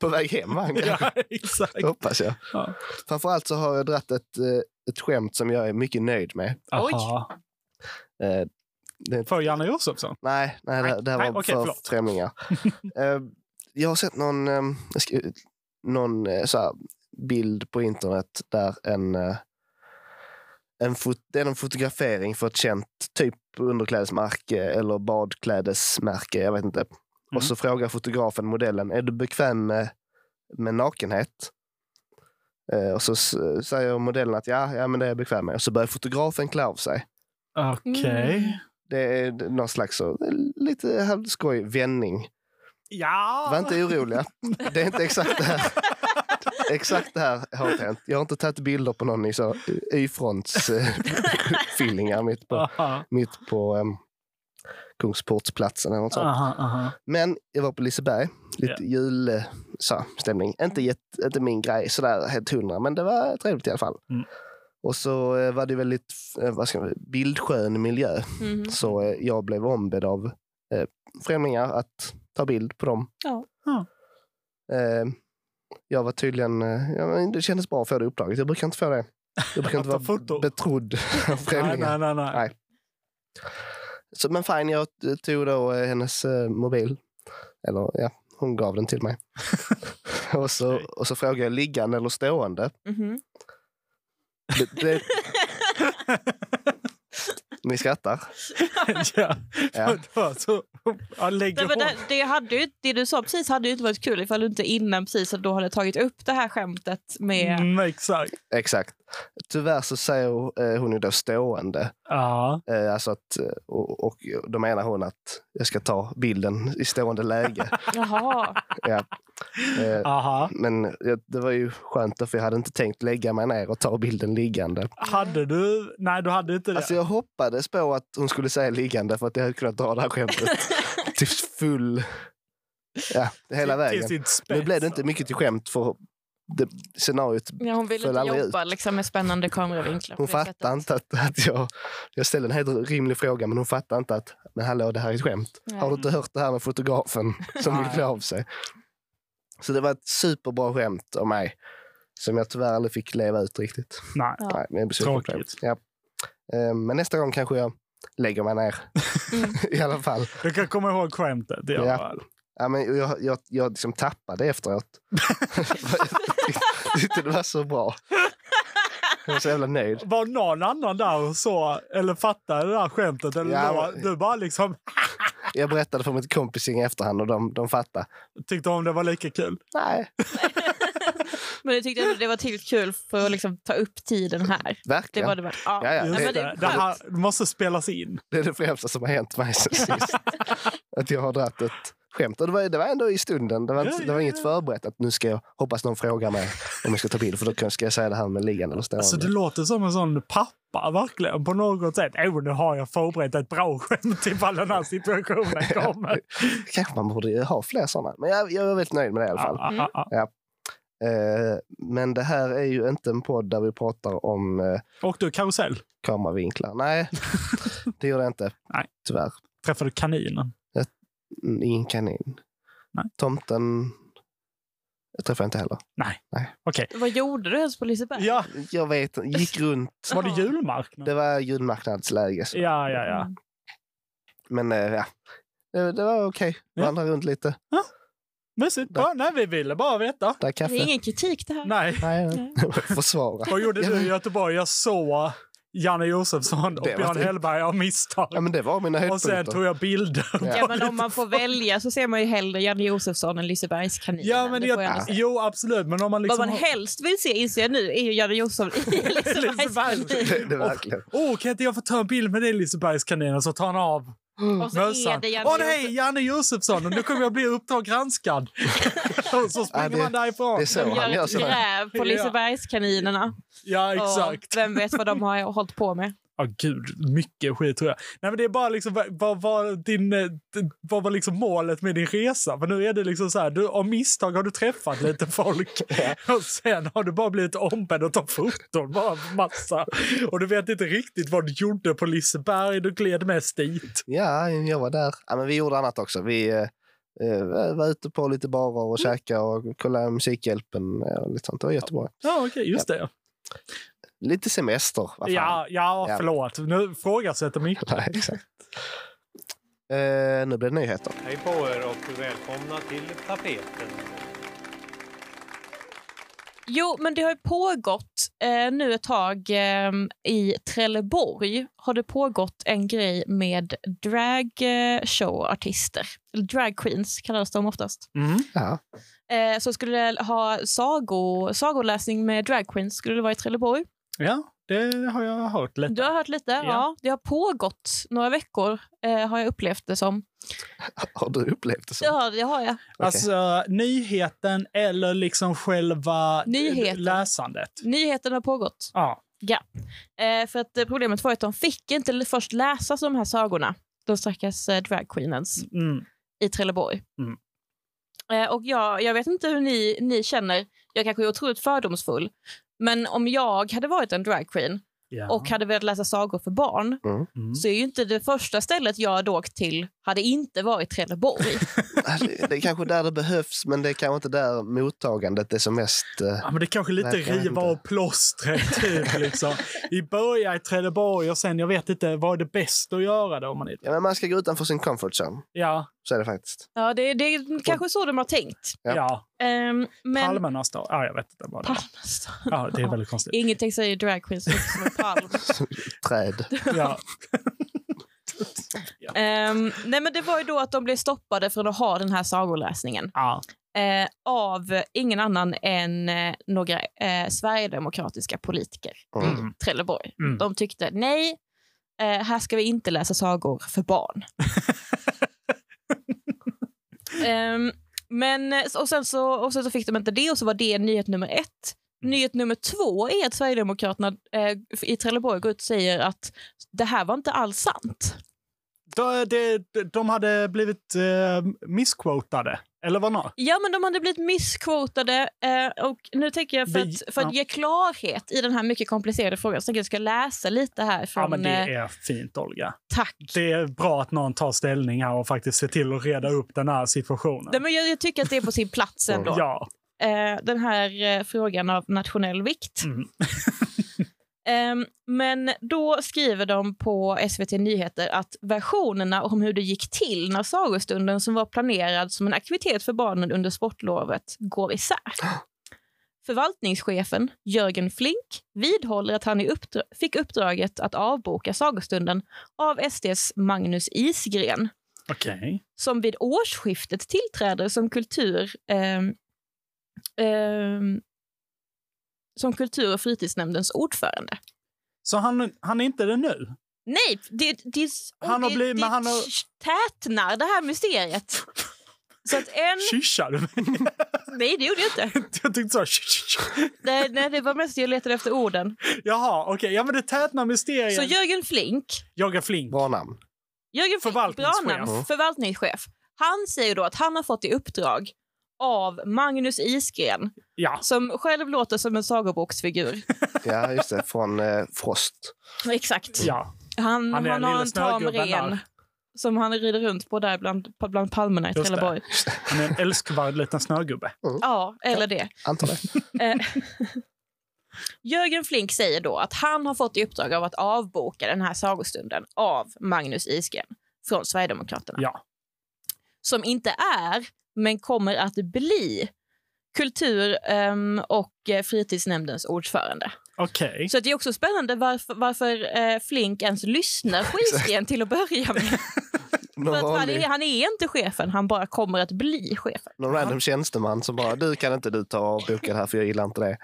[SPEAKER 3] På väg hem var han kanske.
[SPEAKER 2] Ja, exakt.
[SPEAKER 3] Det hoppas jag.
[SPEAKER 2] Ja.
[SPEAKER 3] Framförallt så har jag dratt ett, eh, ett skämt som jag är mycket nöjd med.
[SPEAKER 2] Aha.
[SPEAKER 3] Eh, det,
[SPEAKER 2] För Janne Josefsson?
[SPEAKER 3] nej, nej, det, det här
[SPEAKER 2] Nej,
[SPEAKER 3] var
[SPEAKER 2] okej,
[SPEAKER 3] för
[SPEAKER 2] förlåt.
[SPEAKER 3] främlingar. Eh, jag har sett någon, eh, jag ska, någon eh, så här, bild på internet där en, eh, en, fot, det är en fotografering för ett känt typ underklädesmärke eller badklädesmärke, jag vet inte.
[SPEAKER 2] Mm.
[SPEAKER 3] Och så frågar fotografen modellen, är du bekväm med, med nakenhet? Eh, och så s- säger modellen att ja, ja, men det är jag bekväm med. Och så börjar fotografen klä av sig.
[SPEAKER 2] Okej.
[SPEAKER 4] Mm.
[SPEAKER 3] Det är någon slags så, eh, lite halvskoj vändning.
[SPEAKER 2] Ja!
[SPEAKER 3] Var inte oroliga. Det är inte exakt det här. Exakt det här har hänt. Jag har inte tagit bilder på någon i så Y-fronts-fillingar mitt på,
[SPEAKER 2] Aha,
[SPEAKER 3] mitt på um, Kungsportsplatsen eller något sånt.
[SPEAKER 2] aha, aha.
[SPEAKER 3] Men jag var på Liseberg. Lite jul eh, så, stämning. Inte, jätte, inte min grej sådär helt hundra, men det var trevligt i alla fall.
[SPEAKER 2] Mm.
[SPEAKER 3] Och så eh, var det väldigt eh, vad ska man, bildskön miljö.
[SPEAKER 4] Mhm.
[SPEAKER 3] Så eh, jag blev ombedd av eh, främlingar att ta bild på dem.
[SPEAKER 4] Ja.
[SPEAKER 2] Ja.
[SPEAKER 3] Eh, jag var tydligen... Eh, ja, men det kändes bra att få det uppdraget. Jag brukar inte få det. Jag brukar
[SPEAKER 2] Att
[SPEAKER 3] inte
[SPEAKER 2] ta
[SPEAKER 3] vara
[SPEAKER 2] foto?
[SPEAKER 3] betrodd av
[SPEAKER 2] Nej,
[SPEAKER 3] främlingar.
[SPEAKER 2] nej, nej. nej.
[SPEAKER 3] Nej. Så, men fine, jag t- tog då eh, hennes eh, mobil. Eller ja, hon gav den till mig. och, så,
[SPEAKER 2] Okej.
[SPEAKER 3] och så frågade jag liggande eller stående.
[SPEAKER 4] Mhm.
[SPEAKER 3] Det, det, ni skrattar.
[SPEAKER 2] ja.
[SPEAKER 3] Ja.
[SPEAKER 2] Ja. Så, ja, lägger
[SPEAKER 4] Nej, men det,
[SPEAKER 2] hon.
[SPEAKER 4] det, hade ju, det du sa precis hade ju inte varit kul ifall du inte innan precis då hade tagit upp det här skämtet med...
[SPEAKER 2] Mm, exakt.
[SPEAKER 3] Exakt. Tyvärr så säger eh, hon ju då stående.
[SPEAKER 2] Ja.
[SPEAKER 3] Eh, Alltså att, eh, och, och då menar hon att jag ska ta bilden i stående läge.
[SPEAKER 4] Jaha.
[SPEAKER 3] Eh,
[SPEAKER 2] Aha.
[SPEAKER 3] Men jag- det var ju skönt då, för jag hade inte tänkt lägga mig ner och ta bilden liggande.
[SPEAKER 2] Hade du? Nej, du hade inte det.
[SPEAKER 3] Alltså jag hoppades på att hon skulle säga liggande för att jag hade kunnat dra det här skämtet till full... Ja, hela
[SPEAKER 2] Till-
[SPEAKER 3] vägen.
[SPEAKER 2] Till sitt spets.
[SPEAKER 3] Nu blev det inte mycket till skämt för det scenariot.
[SPEAKER 4] Ja, hon ville
[SPEAKER 3] Föll
[SPEAKER 4] inte
[SPEAKER 3] aldrig
[SPEAKER 4] jobba liksom, med spännande kameravinklar. på
[SPEAKER 3] Hon
[SPEAKER 4] det
[SPEAKER 3] fattar
[SPEAKER 4] sättet.
[SPEAKER 3] inte att, att jag... Jag ställde en helt rimlig fråga men hon fattar inte att men hallå, det här är ett skämt.
[SPEAKER 4] Nej.
[SPEAKER 3] Har du inte hört det här med fotografen som vill
[SPEAKER 2] Nej.
[SPEAKER 3] klä av sig? Så det var ett superbra skämt av mig som jag tyvärr aldrig fick leva ut riktigt.
[SPEAKER 2] Nej.
[SPEAKER 4] Ja.
[SPEAKER 3] Nej, men jag är besviken på det.
[SPEAKER 2] Tråkigt.
[SPEAKER 3] Ja. Eh, Men nästa gång kanske jag lägger mig ner. I alla fall.
[SPEAKER 2] Jag kan komma ihåg skämtet. Det
[SPEAKER 3] Ja.
[SPEAKER 2] ja.
[SPEAKER 3] Ja, men jag jag, jag liksom tappade efteråt. jag tyckte det var så bra. Jag var så jävla nöjd.
[SPEAKER 2] Var någon annan där och så, eller fattade det där skämtet? Eller
[SPEAKER 3] Ja,
[SPEAKER 2] var,
[SPEAKER 3] men-
[SPEAKER 2] du bara liksom
[SPEAKER 3] Jag berättade för mitt kompisgäng i efterhand och de, de fattade.
[SPEAKER 2] tyckte om det var lika kul?
[SPEAKER 3] Nej,
[SPEAKER 4] Men jag tyckte ändå det var tillräckligt kul för att liksom, ta upp tiden här. Det
[SPEAKER 3] verkligen.
[SPEAKER 4] var det var. Ja.
[SPEAKER 3] Ja, ja,
[SPEAKER 4] Nej,
[SPEAKER 2] Just
[SPEAKER 4] men det är
[SPEAKER 2] det. Det
[SPEAKER 4] skönt.
[SPEAKER 2] här måste spelas in.
[SPEAKER 3] Det är det främsta som har hänt mig sen sist. att jag har dragit ett skämt. Och det, var, det var ändå i stunden. Det var, inte,
[SPEAKER 2] Ja,
[SPEAKER 3] det
[SPEAKER 2] ja,
[SPEAKER 3] var inget
[SPEAKER 2] ja.
[SPEAKER 3] förberett. Att nu ska jag, hoppas någon frågar mig om jag ska ta bild. För då kan- ska jag säga det här med liggande eller stående.
[SPEAKER 2] Alltså, det låter som en sån pappa, verkligen, på något sätt. Jo, nu har jag förberett ett bra skämt ifall den här situationen kommer.
[SPEAKER 3] kanske man borde ju ha fler sådana. Men jag, jag är väldigt nöjd med det i alla fall.
[SPEAKER 2] Ja, ja, ja.
[SPEAKER 3] Eh, men det här är ju inte en podd där vi pratar om eh,
[SPEAKER 2] Och du, karusell.
[SPEAKER 3] kameravinklar. Nej, det gör det inte.
[SPEAKER 2] Nej.
[SPEAKER 3] Tyvärr.
[SPEAKER 2] Träffade du kaninen?
[SPEAKER 3] Mm, Ingen kanin.
[SPEAKER 2] Nej.
[SPEAKER 3] Tomten jag träffade jag inte heller.
[SPEAKER 2] Okej.
[SPEAKER 4] Vad gjorde du ens på Liseberg?
[SPEAKER 2] Ja,
[SPEAKER 3] Jag vet inte. Gick runt.
[SPEAKER 2] var det julmarknad?
[SPEAKER 3] Det var julmarknadsläge. så-
[SPEAKER 2] Ja, ja, ja.
[SPEAKER 3] Men eh, ja, det, det var okej.
[SPEAKER 2] Ja.
[SPEAKER 3] Vandra runt lite.
[SPEAKER 2] Mysigt. Bara, nej, vi ville bara veta.
[SPEAKER 3] Där kaffe.
[SPEAKER 4] Det är ingen kritik det här.
[SPEAKER 2] Nej.
[SPEAKER 3] Nej, nej. försvara.
[SPEAKER 2] Vad gjorde du i Göteborg? Jag såg Janne Josefsson och
[SPEAKER 3] Det var
[SPEAKER 2] Björn
[SPEAKER 3] typ-
[SPEAKER 2] Hellberg av misstag.
[SPEAKER 3] Ja, men det var mina
[SPEAKER 2] och sen
[SPEAKER 3] höjdpunkter.
[SPEAKER 2] tog jag bilder.
[SPEAKER 3] Ja.
[SPEAKER 4] Ja, men om man får välja så ser man ju hellre Janne Josefsson än Lisebergskaninen.
[SPEAKER 2] Ja, men
[SPEAKER 4] Det får jag ändå
[SPEAKER 2] jag,
[SPEAKER 4] säga.
[SPEAKER 2] jo, absolut. Men om man liksom...
[SPEAKER 4] Vad man helst vill se, inser jag nu, är ju Janne Josefsson i Lisebergskaninen.
[SPEAKER 3] Det, det var verkligen.
[SPEAKER 2] Åh, oh, kan inte jag få ta en bild med dig, Lisebergskaninen? Så tar han av
[SPEAKER 4] Och så är
[SPEAKER 2] mössan.
[SPEAKER 4] det Janne
[SPEAKER 2] Åh nej, Janne Josefsson! Och nu kommer jag bli Uppdrag granskad. och så springer
[SPEAKER 3] Ja, det-
[SPEAKER 2] man därifrån.
[SPEAKER 3] Det är så han
[SPEAKER 4] Josefsson. Gör
[SPEAKER 3] gör
[SPEAKER 4] ett
[SPEAKER 3] sådär.
[SPEAKER 4] gräv
[SPEAKER 2] Ja.
[SPEAKER 4] på Lisebergskaninerna.
[SPEAKER 2] Ja, exakt.
[SPEAKER 4] Och vem vet vad de har hållit på med.
[SPEAKER 2] Ja, gud. Mycket skit tror jag. Nej, men det är bara liksom, vad, vad, var din, eh, d- vad var liksom målet med din resa? För nu är det liksom så här, du, av misstag har du träffat lite folk och sen har du bara blivit ombedd att ta foton, bara massa. Och du vet inte riktigt vad du gjorde på Liseberg, du gled mest dit.
[SPEAKER 3] Ja, jag var där. Ja, men vi gjorde annat också. Vi eh, eh, var ute på lite barer och
[SPEAKER 2] Mm.
[SPEAKER 3] käkade och kollade Musikhjälpen. eh, Och lite sånt. Det var jättebra.
[SPEAKER 2] Ja, okej, just det.
[SPEAKER 3] Lite semester. vad fan.
[SPEAKER 2] Ja, ja,
[SPEAKER 3] Ja.
[SPEAKER 2] förlåt. Nu frågasätter mycket.
[SPEAKER 3] Nej, exakt. Eh, nu blir det nyheter.
[SPEAKER 9] Hej på er och välkomna till tapeten.
[SPEAKER 4] Jo, men det har ju pågått eh, nu ett tag eh, i Trelleborg har det pågått en grej med dragshowartister. Eller drag queens kallas de oftast.
[SPEAKER 2] Mm.
[SPEAKER 3] Ja.
[SPEAKER 4] Eh, så skulle det ha sago, sagoläsning med drag queens skulle det vara i Trelleborg.
[SPEAKER 2] Ja, det har jag hört lite.
[SPEAKER 4] Du har hört lite? Ja. Det har pågått några veckor eh, har jag upplevt det som.
[SPEAKER 3] Har du upplevt det så?
[SPEAKER 4] Det har, det har jag.
[SPEAKER 3] Okej.
[SPEAKER 2] Alltså nyheten eller liksom själva
[SPEAKER 4] Nyheten.
[SPEAKER 2] läsandet?
[SPEAKER 4] Nyheten har pågått.
[SPEAKER 2] Ja.
[SPEAKER 4] Eh, för att eh, problemet var att de fick inte först läsa de här sagorna. De stackars eh, dragqueenens.
[SPEAKER 2] Mm.
[SPEAKER 4] i Trelleborg.
[SPEAKER 2] Mm.
[SPEAKER 4] Eh, och jag, jag vet inte hur ni, ni känner, jag kanske är otroligt fördomsfull, Men om jag hade varit en dragqueen
[SPEAKER 2] Ja.
[SPEAKER 4] och hade velat läsa sagor för barn
[SPEAKER 2] Mm.
[SPEAKER 4] så är ju inte det första stället jag hade åkt till hade inte varit Trelleborg.
[SPEAKER 3] Det är kanske där det behövs, men det är kanske inte där mottagandet är som mest... eh,
[SPEAKER 2] Ja, men det är kanske lite
[SPEAKER 3] Nej, jag vet
[SPEAKER 2] riva
[SPEAKER 3] inte.
[SPEAKER 2] av plåstret, typ. Liksom. I början i Trelleborg och sen, jag vet inte, vad är det bäst att göra då? Om man är...
[SPEAKER 3] Ja, men man ska gå utanför sin comfort zone.
[SPEAKER 2] Ja,
[SPEAKER 3] Så är det faktiskt.
[SPEAKER 4] ja, det, det är kanske så de har tänkt.
[SPEAKER 2] ja.
[SPEAKER 3] Ja.
[SPEAKER 4] Ehm, men...
[SPEAKER 2] Palmerna står... Ja, jag vet inte vad det var.
[SPEAKER 4] Palmestad.
[SPEAKER 2] Ja, det är väldigt konstigt.
[SPEAKER 4] Ingenting säger dragqueens som en palm.
[SPEAKER 3] Träd.
[SPEAKER 2] Ja.
[SPEAKER 4] Ehm, nej men det var ju då att de blev stoppade från att ha den här sagoläsningen
[SPEAKER 2] Ja.
[SPEAKER 4] eh, av ingen annan än eh, några eh, sverigedemokratiska politiker
[SPEAKER 3] Mm.
[SPEAKER 4] i Trelleborg.
[SPEAKER 2] Mm.
[SPEAKER 4] De tyckte nej, eh, här ska vi inte läsa sagor för barn. Ehm, men, eh, och, sen så, och sen så fick de inte det och så var det nyhet nummer ett. Nyhet nummer två är att Sverigedemokraterna eh, i Trelleborg går ut och säger att det här var inte alls sant.
[SPEAKER 2] De, de, de hade blivit eh, missquotade, eller vad nå?
[SPEAKER 4] Ja, men de hade blivit missquotade. Eh, och nu tänker jag för,
[SPEAKER 2] Vi-
[SPEAKER 4] att, för att
[SPEAKER 2] ja.
[SPEAKER 4] ge klarhet i den här mycket komplicerade frågan så tänker jag att jag ska läsa lite här från
[SPEAKER 2] Ja, men det
[SPEAKER 4] eh,
[SPEAKER 2] är fint, Olga.
[SPEAKER 4] Tack.
[SPEAKER 2] Det är bra att någon tar ställning här och faktiskt ser till att reda upp den här situationen.
[SPEAKER 4] Nej, men jag, jag tycker att det är på sin plats ändå.
[SPEAKER 2] Ja.
[SPEAKER 4] eh, den här eh, frågan av nationell vikt.
[SPEAKER 2] Mm.
[SPEAKER 4] Ehm, men då skriver de på SVT Nyheter att versionerna om hur det gick till när sagostunden som var planerad som en aktivitet för barnen under sportlovet går isär. Förvaltningschefen Jörgen Flink vidhåller att han i uppdra- fick uppdraget att avboka sagostunden av SDs Magnus Isgren
[SPEAKER 2] Okej.
[SPEAKER 4] som vid årsskiftet tillträder som kultur ehm, ehm, som kultur och fritidsnämndens ordförande.
[SPEAKER 2] Så han, han är inte det nu?
[SPEAKER 4] Nej, det, det, är s-
[SPEAKER 2] Han har
[SPEAKER 4] det,
[SPEAKER 2] blivit-
[SPEAKER 4] det
[SPEAKER 2] men han har-
[SPEAKER 4] tätnar det här mysteriet. Så att en...
[SPEAKER 2] Kyssar du mig?
[SPEAKER 4] Nej, det gjorde jag inte.
[SPEAKER 2] Jag tyckte så. här, "Tsch, tsch, tsch."
[SPEAKER 4] Nej, nej, det var mest jag letade efter orden.
[SPEAKER 2] Jaha, okej. Ja, men det tätnar
[SPEAKER 4] Så
[SPEAKER 2] mysterier.
[SPEAKER 4] Jörgen Flink,
[SPEAKER 2] Jagar Flink.
[SPEAKER 3] Bra namn.
[SPEAKER 4] Jörgen Flink
[SPEAKER 2] Förvaltningschef.
[SPEAKER 4] bra namn,
[SPEAKER 3] Ja.
[SPEAKER 4] förvaltningschef, han säger då att han har fått i uppdrag av Magnus Isgren,
[SPEAKER 2] Ja.
[SPEAKER 4] som själv låter som en sagoboksfigur.
[SPEAKER 3] Ja, just det. Från eh, Frost.
[SPEAKER 4] Exakt.
[SPEAKER 2] ja.
[SPEAKER 4] Han,
[SPEAKER 2] Han är
[SPEAKER 4] han
[SPEAKER 2] den
[SPEAKER 4] har
[SPEAKER 2] lille
[SPEAKER 4] en tam
[SPEAKER 2] snögubben
[SPEAKER 4] ren
[SPEAKER 2] där.
[SPEAKER 4] som han rider runt på där bland, bland palmerna i
[SPEAKER 2] Just det.
[SPEAKER 4] Trelleborg.
[SPEAKER 2] Han är en älskvärd liten snögubbe.
[SPEAKER 4] Ja, eller det. Eh,
[SPEAKER 3] Antar det.
[SPEAKER 4] Jörgen Flink säger då att han har fått i uppdrag av att avboka den här sagostunden av Magnus Isgren från Sverigedemokraterna.
[SPEAKER 2] Ja.
[SPEAKER 4] Som inte är, men kommer att bli, kultur ehm, och eh, fritidsnämndens ordförande.
[SPEAKER 2] Okej.
[SPEAKER 4] Så det är också spännande varför, varför eh, Flink ens lyssnar på Isgren till att börja med.
[SPEAKER 3] Någon,
[SPEAKER 4] För att han,
[SPEAKER 3] vanlig,
[SPEAKER 4] är, han är inte chefen, han bara kommer att bli chefen.
[SPEAKER 3] någon random tjänsteman som bara, du kan inte du ta och boka det här för jag gillar inte det.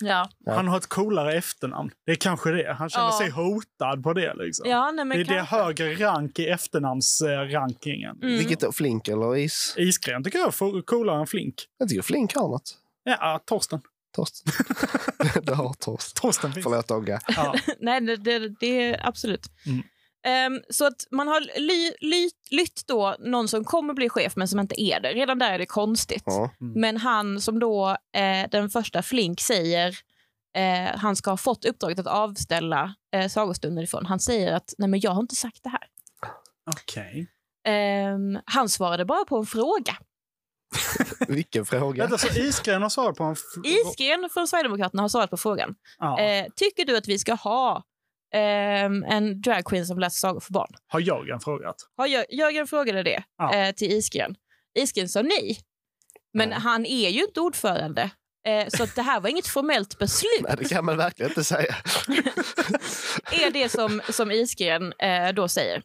[SPEAKER 4] Ja,
[SPEAKER 3] Ja.
[SPEAKER 2] Han har ett coolare efternamn. Det är kanske det. Han känner
[SPEAKER 4] Ja.
[SPEAKER 2] sig hotad på det. Liksom.
[SPEAKER 4] ja nej, men
[SPEAKER 2] det är det
[SPEAKER 4] kanske.
[SPEAKER 2] högre rank i efternamnsrankingen.
[SPEAKER 4] Mm.
[SPEAKER 3] Vilket då, Flink eller Is?
[SPEAKER 2] Isgren tycker jag är fo- coolare än Flink.
[SPEAKER 3] Jag tycker Flink har något.
[SPEAKER 2] Ja, ah, Torsten.
[SPEAKER 3] Torsten. det har Torsten.
[SPEAKER 2] Torsten finns.
[SPEAKER 3] Förlåt, Olga.
[SPEAKER 2] Ja.
[SPEAKER 4] Nej, det, det, det är absolut.
[SPEAKER 2] Mm.
[SPEAKER 4] Ehm, så att man har ly, ly, lytt då någon som kommer bli chef men som inte är det. Redan där är det konstigt.
[SPEAKER 3] Ja.
[SPEAKER 4] Men han som då eh, den första Flink säger eh, han ska ha fått uppdraget att avställa eh, sagostunden ifrån. Han säger att nej men jag har inte sagt det här.
[SPEAKER 2] Okej.
[SPEAKER 4] Ehm, han svarade bara på en fråga.
[SPEAKER 3] Vilken fråga.
[SPEAKER 2] Vänta, så Isgren har svarat på en... fr-
[SPEAKER 4] Isgren från Sverigedemokraterna har svarat på frågan.
[SPEAKER 2] Ja.
[SPEAKER 4] Eh, tycker du att vi ska ha ehm, en dragqueen som läser sagor för barn?
[SPEAKER 2] Har jag en frågat?
[SPEAKER 4] Har Jör- Jörgen frågade det
[SPEAKER 2] Ja.
[SPEAKER 4] eh, till Isgren. Isgren sa nej. Men han är ju inte ordförande. Eh, så att det här var inget formellt beslut,
[SPEAKER 3] Nej, det kan man verkligen inte säga.
[SPEAKER 4] är det som, som Isgren eh, då säger.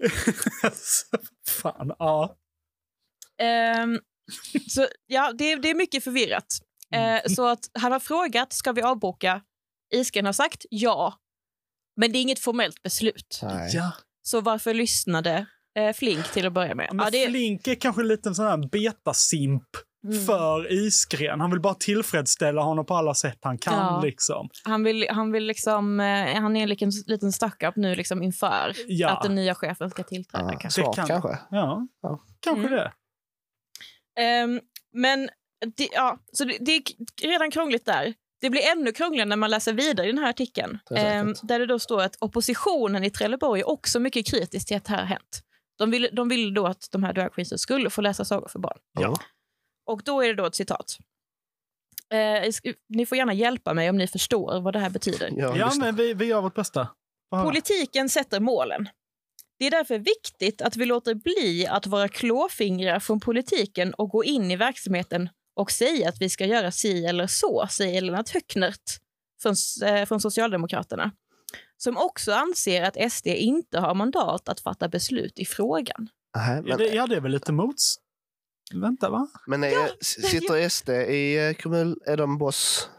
[SPEAKER 2] Fan, ja.
[SPEAKER 4] Ehm, så, ja, det, det är mycket förvirrat. Eh,
[SPEAKER 2] Mm.
[SPEAKER 4] så att han har frågat, ska vi avboka? Isgren har sagt ja. Men det är inget formellt beslut.
[SPEAKER 3] Nej.
[SPEAKER 2] ja.
[SPEAKER 4] Så varför lyssnade eh, Flink till att börja med?
[SPEAKER 2] Men
[SPEAKER 4] Ja, det,
[SPEAKER 2] Flink är kanske en liten sån här betasimp
[SPEAKER 3] Mm.
[SPEAKER 4] Mm.
[SPEAKER 2] för Isgren. Han vill bara tillfredsställa honom på alla sätt han kan.
[SPEAKER 4] Ja.
[SPEAKER 2] Liksom.
[SPEAKER 4] Han vill, han vill liksom, eh, han är en liten, liten stack-up nu liksom inför
[SPEAKER 2] Ja.
[SPEAKER 4] att den nya chefen ska tillträda.
[SPEAKER 3] Ja,
[SPEAKER 4] kanske.
[SPEAKER 3] smart
[SPEAKER 2] kan-
[SPEAKER 3] kanske.
[SPEAKER 2] Ja.
[SPEAKER 3] Ja.
[SPEAKER 2] Kanske
[SPEAKER 4] Mm.
[SPEAKER 2] det.
[SPEAKER 4] Ehm, men det, ja, så det, det är k- redan krångligt där. Det blir ännu krångligare när man läser vidare i den här artikeln.
[SPEAKER 3] Det är
[SPEAKER 4] ehm,
[SPEAKER 3] säkert.
[SPEAKER 4] där det då står att oppositionen i Trelleborg är också mycket kritisk till att det här har hänt. De ville de vill då att de här dragqueensen skulle få läsa sagor för barn.
[SPEAKER 3] Ja.
[SPEAKER 4] Och då är det då ett citat. Eh, sk- ni får gärna hjälpa mig om ni förstår vad det här betyder.
[SPEAKER 3] Ja,
[SPEAKER 2] Ja,
[SPEAKER 3] lyssna.
[SPEAKER 2] men vi, vi gör vårt bästa. Få höra.
[SPEAKER 4] Politiken sätter målen. Det är därför viktigt att vi låter bli att vara klåfingrar från politiken och gå in i verksamheten och säga att vi ska göra si eller så, säger Lennart Höcknert från, eh, från Socialdemokraterna som också anser att SD inte har mandat att fatta beslut i frågan.
[SPEAKER 3] Nej, men,
[SPEAKER 2] Ja, det, ja, det är väl lite mots... Vänta, va?
[SPEAKER 3] men är, sitter SD i eh, kommun? Är de boss?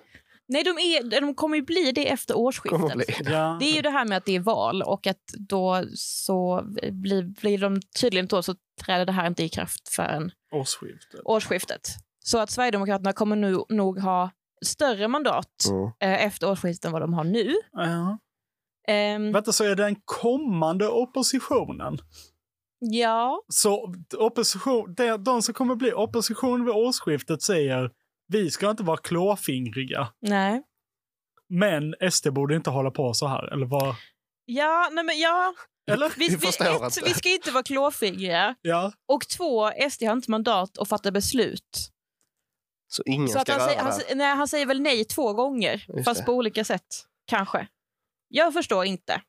[SPEAKER 4] Nej, de, är, de kommer ju bli det efter
[SPEAKER 3] Kommer att bli.
[SPEAKER 4] årsskiftet.
[SPEAKER 2] Ja.
[SPEAKER 4] Det är ju det här med att det är val och att då så blir, blir de tydligen då så träder det här inte i kraft förrän
[SPEAKER 2] Årsskiftet.
[SPEAKER 4] årsskiftet. Så att Sverigedemokraterna kommer nu nog ha större mandat
[SPEAKER 3] Mm.
[SPEAKER 4] eh, efter årsskiftet än vad de har nu.
[SPEAKER 2] Ja.
[SPEAKER 4] Ehm,
[SPEAKER 2] Vänta, så är den kommande oppositionen?
[SPEAKER 4] ja,
[SPEAKER 2] Så opposition, de, de som kommer bli opposition vid årsskiftet säger vi ska inte vara klåfingriga,
[SPEAKER 4] nej.
[SPEAKER 2] men SD borde inte hålla på så här. Eller vad?
[SPEAKER 4] Ja, nej men ja.
[SPEAKER 2] Eller?
[SPEAKER 4] Vi,
[SPEAKER 3] Vi
[SPEAKER 4] vi,
[SPEAKER 3] förstår
[SPEAKER 4] ett,
[SPEAKER 3] inte.
[SPEAKER 4] vi ska inte vara klåfingriga.
[SPEAKER 2] Ja.
[SPEAKER 4] Och två, SD har inte mandat att fatta beslut.
[SPEAKER 3] Så ingen
[SPEAKER 4] Så att
[SPEAKER 3] ska
[SPEAKER 4] han,
[SPEAKER 3] röra
[SPEAKER 4] säger,
[SPEAKER 3] det.
[SPEAKER 4] han, sä- nej, han säger väl nej två gånger,
[SPEAKER 3] Just
[SPEAKER 4] fast
[SPEAKER 3] det.
[SPEAKER 4] på olika sätt. Kanske. Jag förstår inte.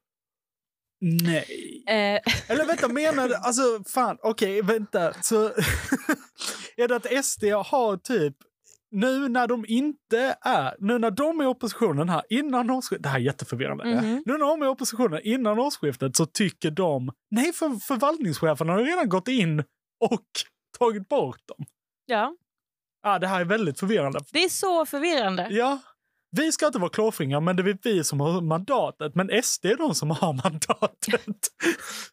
[SPEAKER 2] Nej.
[SPEAKER 4] Eh,
[SPEAKER 2] Eller vänta, menar du, alltså fan, okej, vänta. Så är det att SD har typ, nu när de inte är, nu när de är i oppositionen här innan årsskiftet, det här är jätteförvirrande.
[SPEAKER 4] mhm.
[SPEAKER 2] Nu när de är i oppositionen innan årsskiftet så tycker de, nej för förvaltningschefen har ju redan gått in och tagit bort dem.
[SPEAKER 4] Ja,
[SPEAKER 2] Ah, det här är väldigt förvirrande.
[SPEAKER 4] det är så förvirrande.
[SPEAKER 2] Ja, vi ska inte vara klåfingrar, men det är vi som har mandatet. Men SD är de som har mandatet.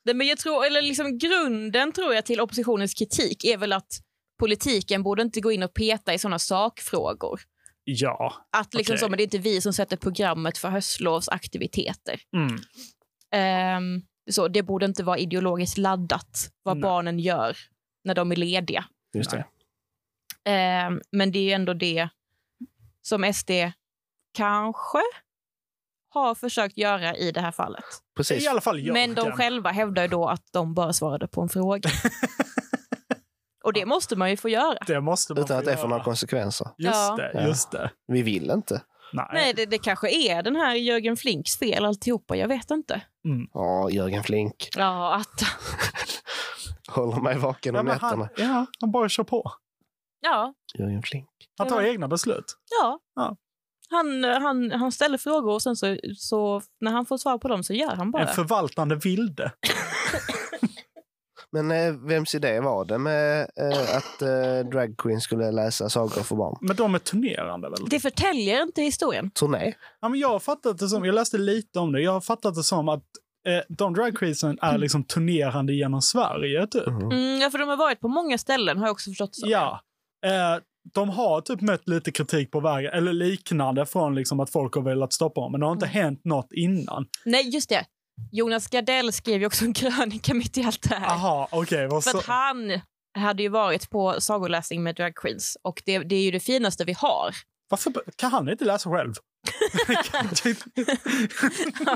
[SPEAKER 4] Nej, men jag tror, eller liksom grunden tror jag till oppositionens kritik är väl att politiken borde inte gå in och peta i såna sakfrågor.
[SPEAKER 2] ja.
[SPEAKER 4] Att liksom
[SPEAKER 2] Okej.
[SPEAKER 4] så, men det är inte vi som sätter programmet för höstlovsaktiviteter.
[SPEAKER 2] Mm.
[SPEAKER 4] Ehm, så, det borde inte vara ideologiskt laddat vad
[SPEAKER 2] Nej.
[SPEAKER 4] barnen gör när de är lediga.
[SPEAKER 3] Just det.
[SPEAKER 4] Ehm, men det är ju ändå det som SD kanske har försökt göra i det här fallet.
[SPEAKER 3] Precis.
[SPEAKER 2] I alla fall jag.
[SPEAKER 4] Men de
[SPEAKER 2] kan.
[SPEAKER 4] själva hävdar ju då att de bara svarade på en fråga. Och det måste man ju få göra.
[SPEAKER 2] Det måste man
[SPEAKER 3] Utan
[SPEAKER 2] få
[SPEAKER 3] att det får
[SPEAKER 2] göra.
[SPEAKER 3] några konsekvenser.
[SPEAKER 2] Just
[SPEAKER 4] Ja.
[SPEAKER 2] det,
[SPEAKER 3] Ja.
[SPEAKER 2] just det.
[SPEAKER 3] Vi vill inte.
[SPEAKER 2] Nej.
[SPEAKER 4] Nej, det, det kanske är den här Jörgen Flinks fel alltihopa, jag vet inte.
[SPEAKER 3] Ja, Jörgen Flink
[SPEAKER 4] Ja, att,
[SPEAKER 3] håller mig vaken
[SPEAKER 2] Ja,
[SPEAKER 3] om
[SPEAKER 2] men
[SPEAKER 3] nätterna.
[SPEAKER 2] han, ja, han bara kör på.
[SPEAKER 4] ja,
[SPEAKER 3] Jörgen Flink.
[SPEAKER 2] Han tar
[SPEAKER 4] Ja.
[SPEAKER 2] egna beslut.
[SPEAKER 4] ja.
[SPEAKER 2] Ja.
[SPEAKER 4] Han, han, han ställer frågor och sen så, så när han får svar på dem så gör han bara.
[SPEAKER 2] En förvaltande vilde.
[SPEAKER 3] Men eh, vems idé var det med eh, att eh, drag queen skulle läsa sagor för barn?
[SPEAKER 2] Men de är turnerande väl?
[SPEAKER 4] Det förtäljer inte historien.
[SPEAKER 3] Turné?
[SPEAKER 2] Ja, men jag har fattat det som, jag läste lite om det, jag har fattat det som att eh, de dragqueensen är liksom turnerande genom Sverige typ.
[SPEAKER 4] Mm, ja, för de har varit på många ställen har jag också förstått. Så.
[SPEAKER 2] Ja. Eh, de har typ mött lite kritik på vägen, eller liknande från liksom att folk har velat stoppa dem, men det har inte
[SPEAKER 4] Mm.
[SPEAKER 2] hänt något innan.
[SPEAKER 4] Nej, just det. Jonas Gardell skrev ju också en krönika mitt i allt det här.
[SPEAKER 2] Aha, okej. vad
[SPEAKER 4] För
[SPEAKER 2] så-
[SPEAKER 4] att han hade ju varit på sagoläsning med drag queens och det, det är ju det finaste vi har.
[SPEAKER 2] Varför kan han inte läsa själv? Typ,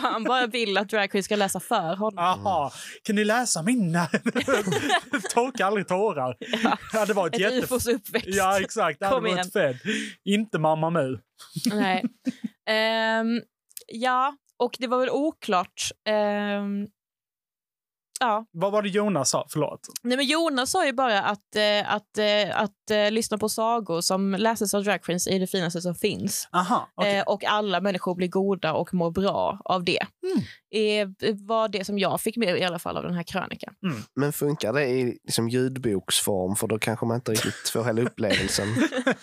[SPEAKER 4] Han bara vill att drag queens ska läsa för honom.
[SPEAKER 2] Aha,
[SPEAKER 4] Mm.
[SPEAKER 2] kan ni läsa mina? Torka aldrig tårar.
[SPEAKER 4] Ja.
[SPEAKER 2] Det hade varit
[SPEAKER 4] Ett
[SPEAKER 2] jätte...
[SPEAKER 4] ufos uppväxt.
[SPEAKER 2] Ja, exakt. Det hade
[SPEAKER 4] Kom
[SPEAKER 2] varit fett. Inte Mamma Mu.
[SPEAKER 4] Nej. Ehm, ja, och det var väl oklart. Ehm, ja.
[SPEAKER 2] Vad var det Jonas sa? Förlåt.
[SPEAKER 4] Nej, men Jonas sa ju bara att, eh, att, eh, att eh, lyssna på sagor som läses av drag queens är det finaste som finns.
[SPEAKER 2] Aha, okej.
[SPEAKER 4] Eh, och alla människor blir goda och mår bra av det. Eh, var det som jag fick med i alla fall av den här krönikan.
[SPEAKER 3] Men funkar det i liksom, ljudboksform? För då kanske man inte riktigt får hela upplevelsen.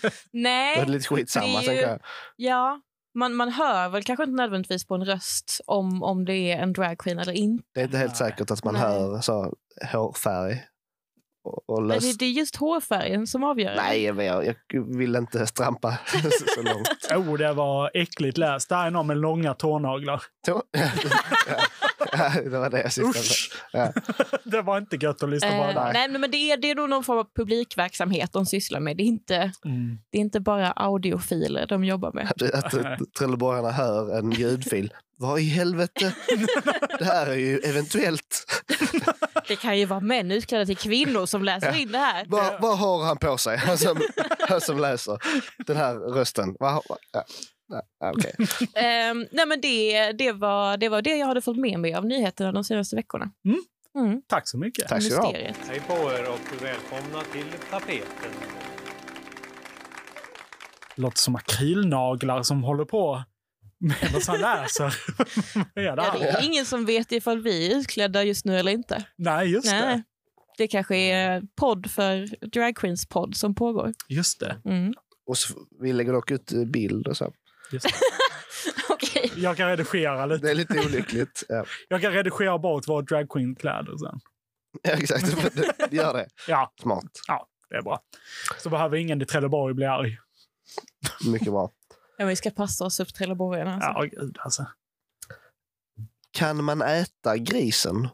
[SPEAKER 3] Då är
[SPEAKER 4] Nej,
[SPEAKER 3] det lite skitsamma.
[SPEAKER 4] Det är
[SPEAKER 3] Sen
[SPEAKER 4] ju-
[SPEAKER 3] kan jag...
[SPEAKER 4] ja. Man, man hör väl kanske inte nödvändigtvis på en röst om, om det är en dragqueen eller inte.
[SPEAKER 3] Det är inte helt säkert att man
[SPEAKER 4] Nej.
[SPEAKER 3] hör så, hårfärg. Och, och
[SPEAKER 4] Men
[SPEAKER 3] löst...
[SPEAKER 4] Det, det är just hårfärgen som avgör.
[SPEAKER 3] Nej, jag, jag jag vill inte strampa så- så långt.
[SPEAKER 2] Oh, det var äckligt läst. Där är någon med långa tånaglar.
[SPEAKER 3] Då- det var det jag syftade
[SPEAKER 2] Usch!
[SPEAKER 3] på. Ja.
[SPEAKER 2] det var inte gött att lyssna på det
[SPEAKER 4] Eh,
[SPEAKER 2] där.
[SPEAKER 4] nej, men det är, det är nog någon form av publikverksamhet de sysslar med. Det är inte,
[SPEAKER 2] Mm.
[SPEAKER 4] det är inte bara audiofiler de jobbar med.
[SPEAKER 3] Att eh, trelleborgarna hör en ljudfil. Vad i helvete? Det här är ju eventuellt.
[SPEAKER 4] Det kan ju vara män utklädda till kvinnor som läser in det här.
[SPEAKER 3] Vad, vad har han på sig, han som, han som läser den här rösten? Vad har, ja. Ja, okej.
[SPEAKER 4] Ehm, nej, men det, det, var, det var det jag hade fått med mig av nyheterna de senaste veckorna.
[SPEAKER 2] Mm.
[SPEAKER 4] Mm,
[SPEAKER 2] Tack så mycket.
[SPEAKER 3] Tack ska du ha.
[SPEAKER 4] mysteriet.
[SPEAKER 9] Hej på er och välkomna till tapeten.
[SPEAKER 2] Låter som akrylnaglar som håller på medan han läser. Vad är det
[SPEAKER 4] Ja, det
[SPEAKER 2] här?
[SPEAKER 4] är ingen som vet ifall vi är utklädda just nu eller inte.
[SPEAKER 2] Nej, just
[SPEAKER 4] Nej.
[SPEAKER 2] det.
[SPEAKER 4] Det kanske är eh, podd för Drag Queens podd som pågår.
[SPEAKER 2] Just det.
[SPEAKER 4] Mm.
[SPEAKER 3] Och så, vi lägger dock ut eh, bild och så.
[SPEAKER 2] Just det.
[SPEAKER 4] Okej.
[SPEAKER 2] Jag kan redigera lite.
[SPEAKER 3] Det är lite olyckligt. Ja,
[SPEAKER 2] Jag kan redigera bort våra dragqueen-kläder sen.
[SPEAKER 3] ja exakt. Gör det.
[SPEAKER 2] Ja,
[SPEAKER 3] Smart.
[SPEAKER 2] det är bra. Så behöver ingen i Trelleborg bli arg.
[SPEAKER 3] Mycket bra.
[SPEAKER 4] Ja, men vi ska passa oss upp till Trelleborgarna. Alltså.
[SPEAKER 2] Ja, gud alltså.
[SPEAKER 3] Kan man äta grisen?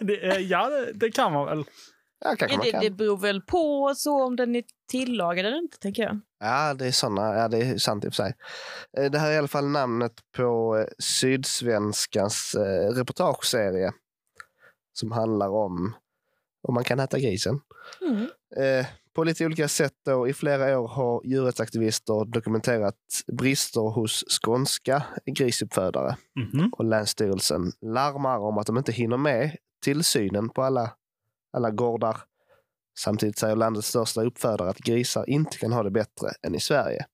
[SPEAKER 2] det, är- ja, det- det kan man väl.
[SPEAKER 3] Ja, kanske
[SPEAKER 4] Ja,
[SPEAKER 3] man
[SPEAKER 4] det,
[SPEAKER 3] kan.
[SPEAKER 4] det beror väl på så om den är tillagad eller inte, tänker jag.
[SPEAKER 3] Ja, det är såna. Ja, det är sant i och för sig. Eh, Det här är i alla fall namnet på eh, Sydsvenskans eh, reportageserie som handlar om om man kan äta grisen.
[SPEAKER 4] Mm.
[SPEAKER 3] Eh, På lite olika sätt då. I flera år har djurrättsaktivister dokumenterat brister hos skånska grisuppfödare
[SPEAKER 2] Mhm.
[SPEAKER 3] och Länsstyrelsen larmar om att de inte hinner med tillsynen på alla, alla gårdar. Samtidigt säger landets största uppfödare att grisar inte kan ha det bättre än i Sverige.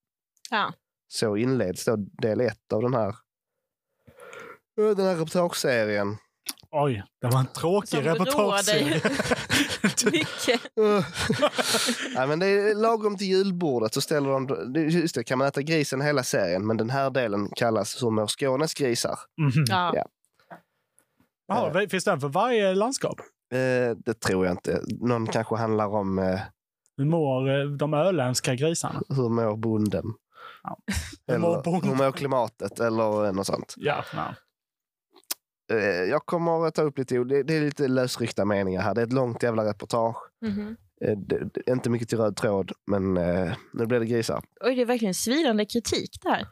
[SPEAKER 4] Ja.
[SPEAKER 3] Så inleds då del ett av den här, eh, den här reportageserien.
[SPEAKER 2] Oj, det var en tråkig
[SPEAKER 4] Som roar
[SPEAKER 2] reportageserie.
[SPEAKER 4] dig mycket.
[SPEAKER 3] Uh. Nej, men det är lagom till julbordet så ställer de... Just det, kan man äta grisen hela serien? Men den här delen kallas Hur mår Skånes grisar?
[SPEAKER 2] Mhm.
[SPEAKER 4] Ja.
[SPEAKER 2] Jaha, vad- finns den för varje landskap?
[SPEAKER 3] Eh, det tror jag inte. Någon kanske handlar om eh,
[SPEAKER 2] Hur mår eh, de öländska grisarna?
[SPEAKER 3] hur mår bonden?
[SPEAKER 2] Ja. Hur mår
[SPEAKER 3] Eller
[SPEAKER 2] bonden?
[SPEAKER 3] hur mår klimatet eller något sånt.
[SPEAKER 2] Ja, ja.
[SPEAKER 3] Eh, Jag kommer att ta upp lite, det det är lite lösryckta meningar här. Det är ett långt jävla reportage.
[SPEAKER 4] Mhm.
[SPEAKER 3] Eh, det- det är Inte mycket till röd tråd, men eh, nu blir det grisar
[SPEAKER 4] Oj, det är verkligen svidande kritik det här.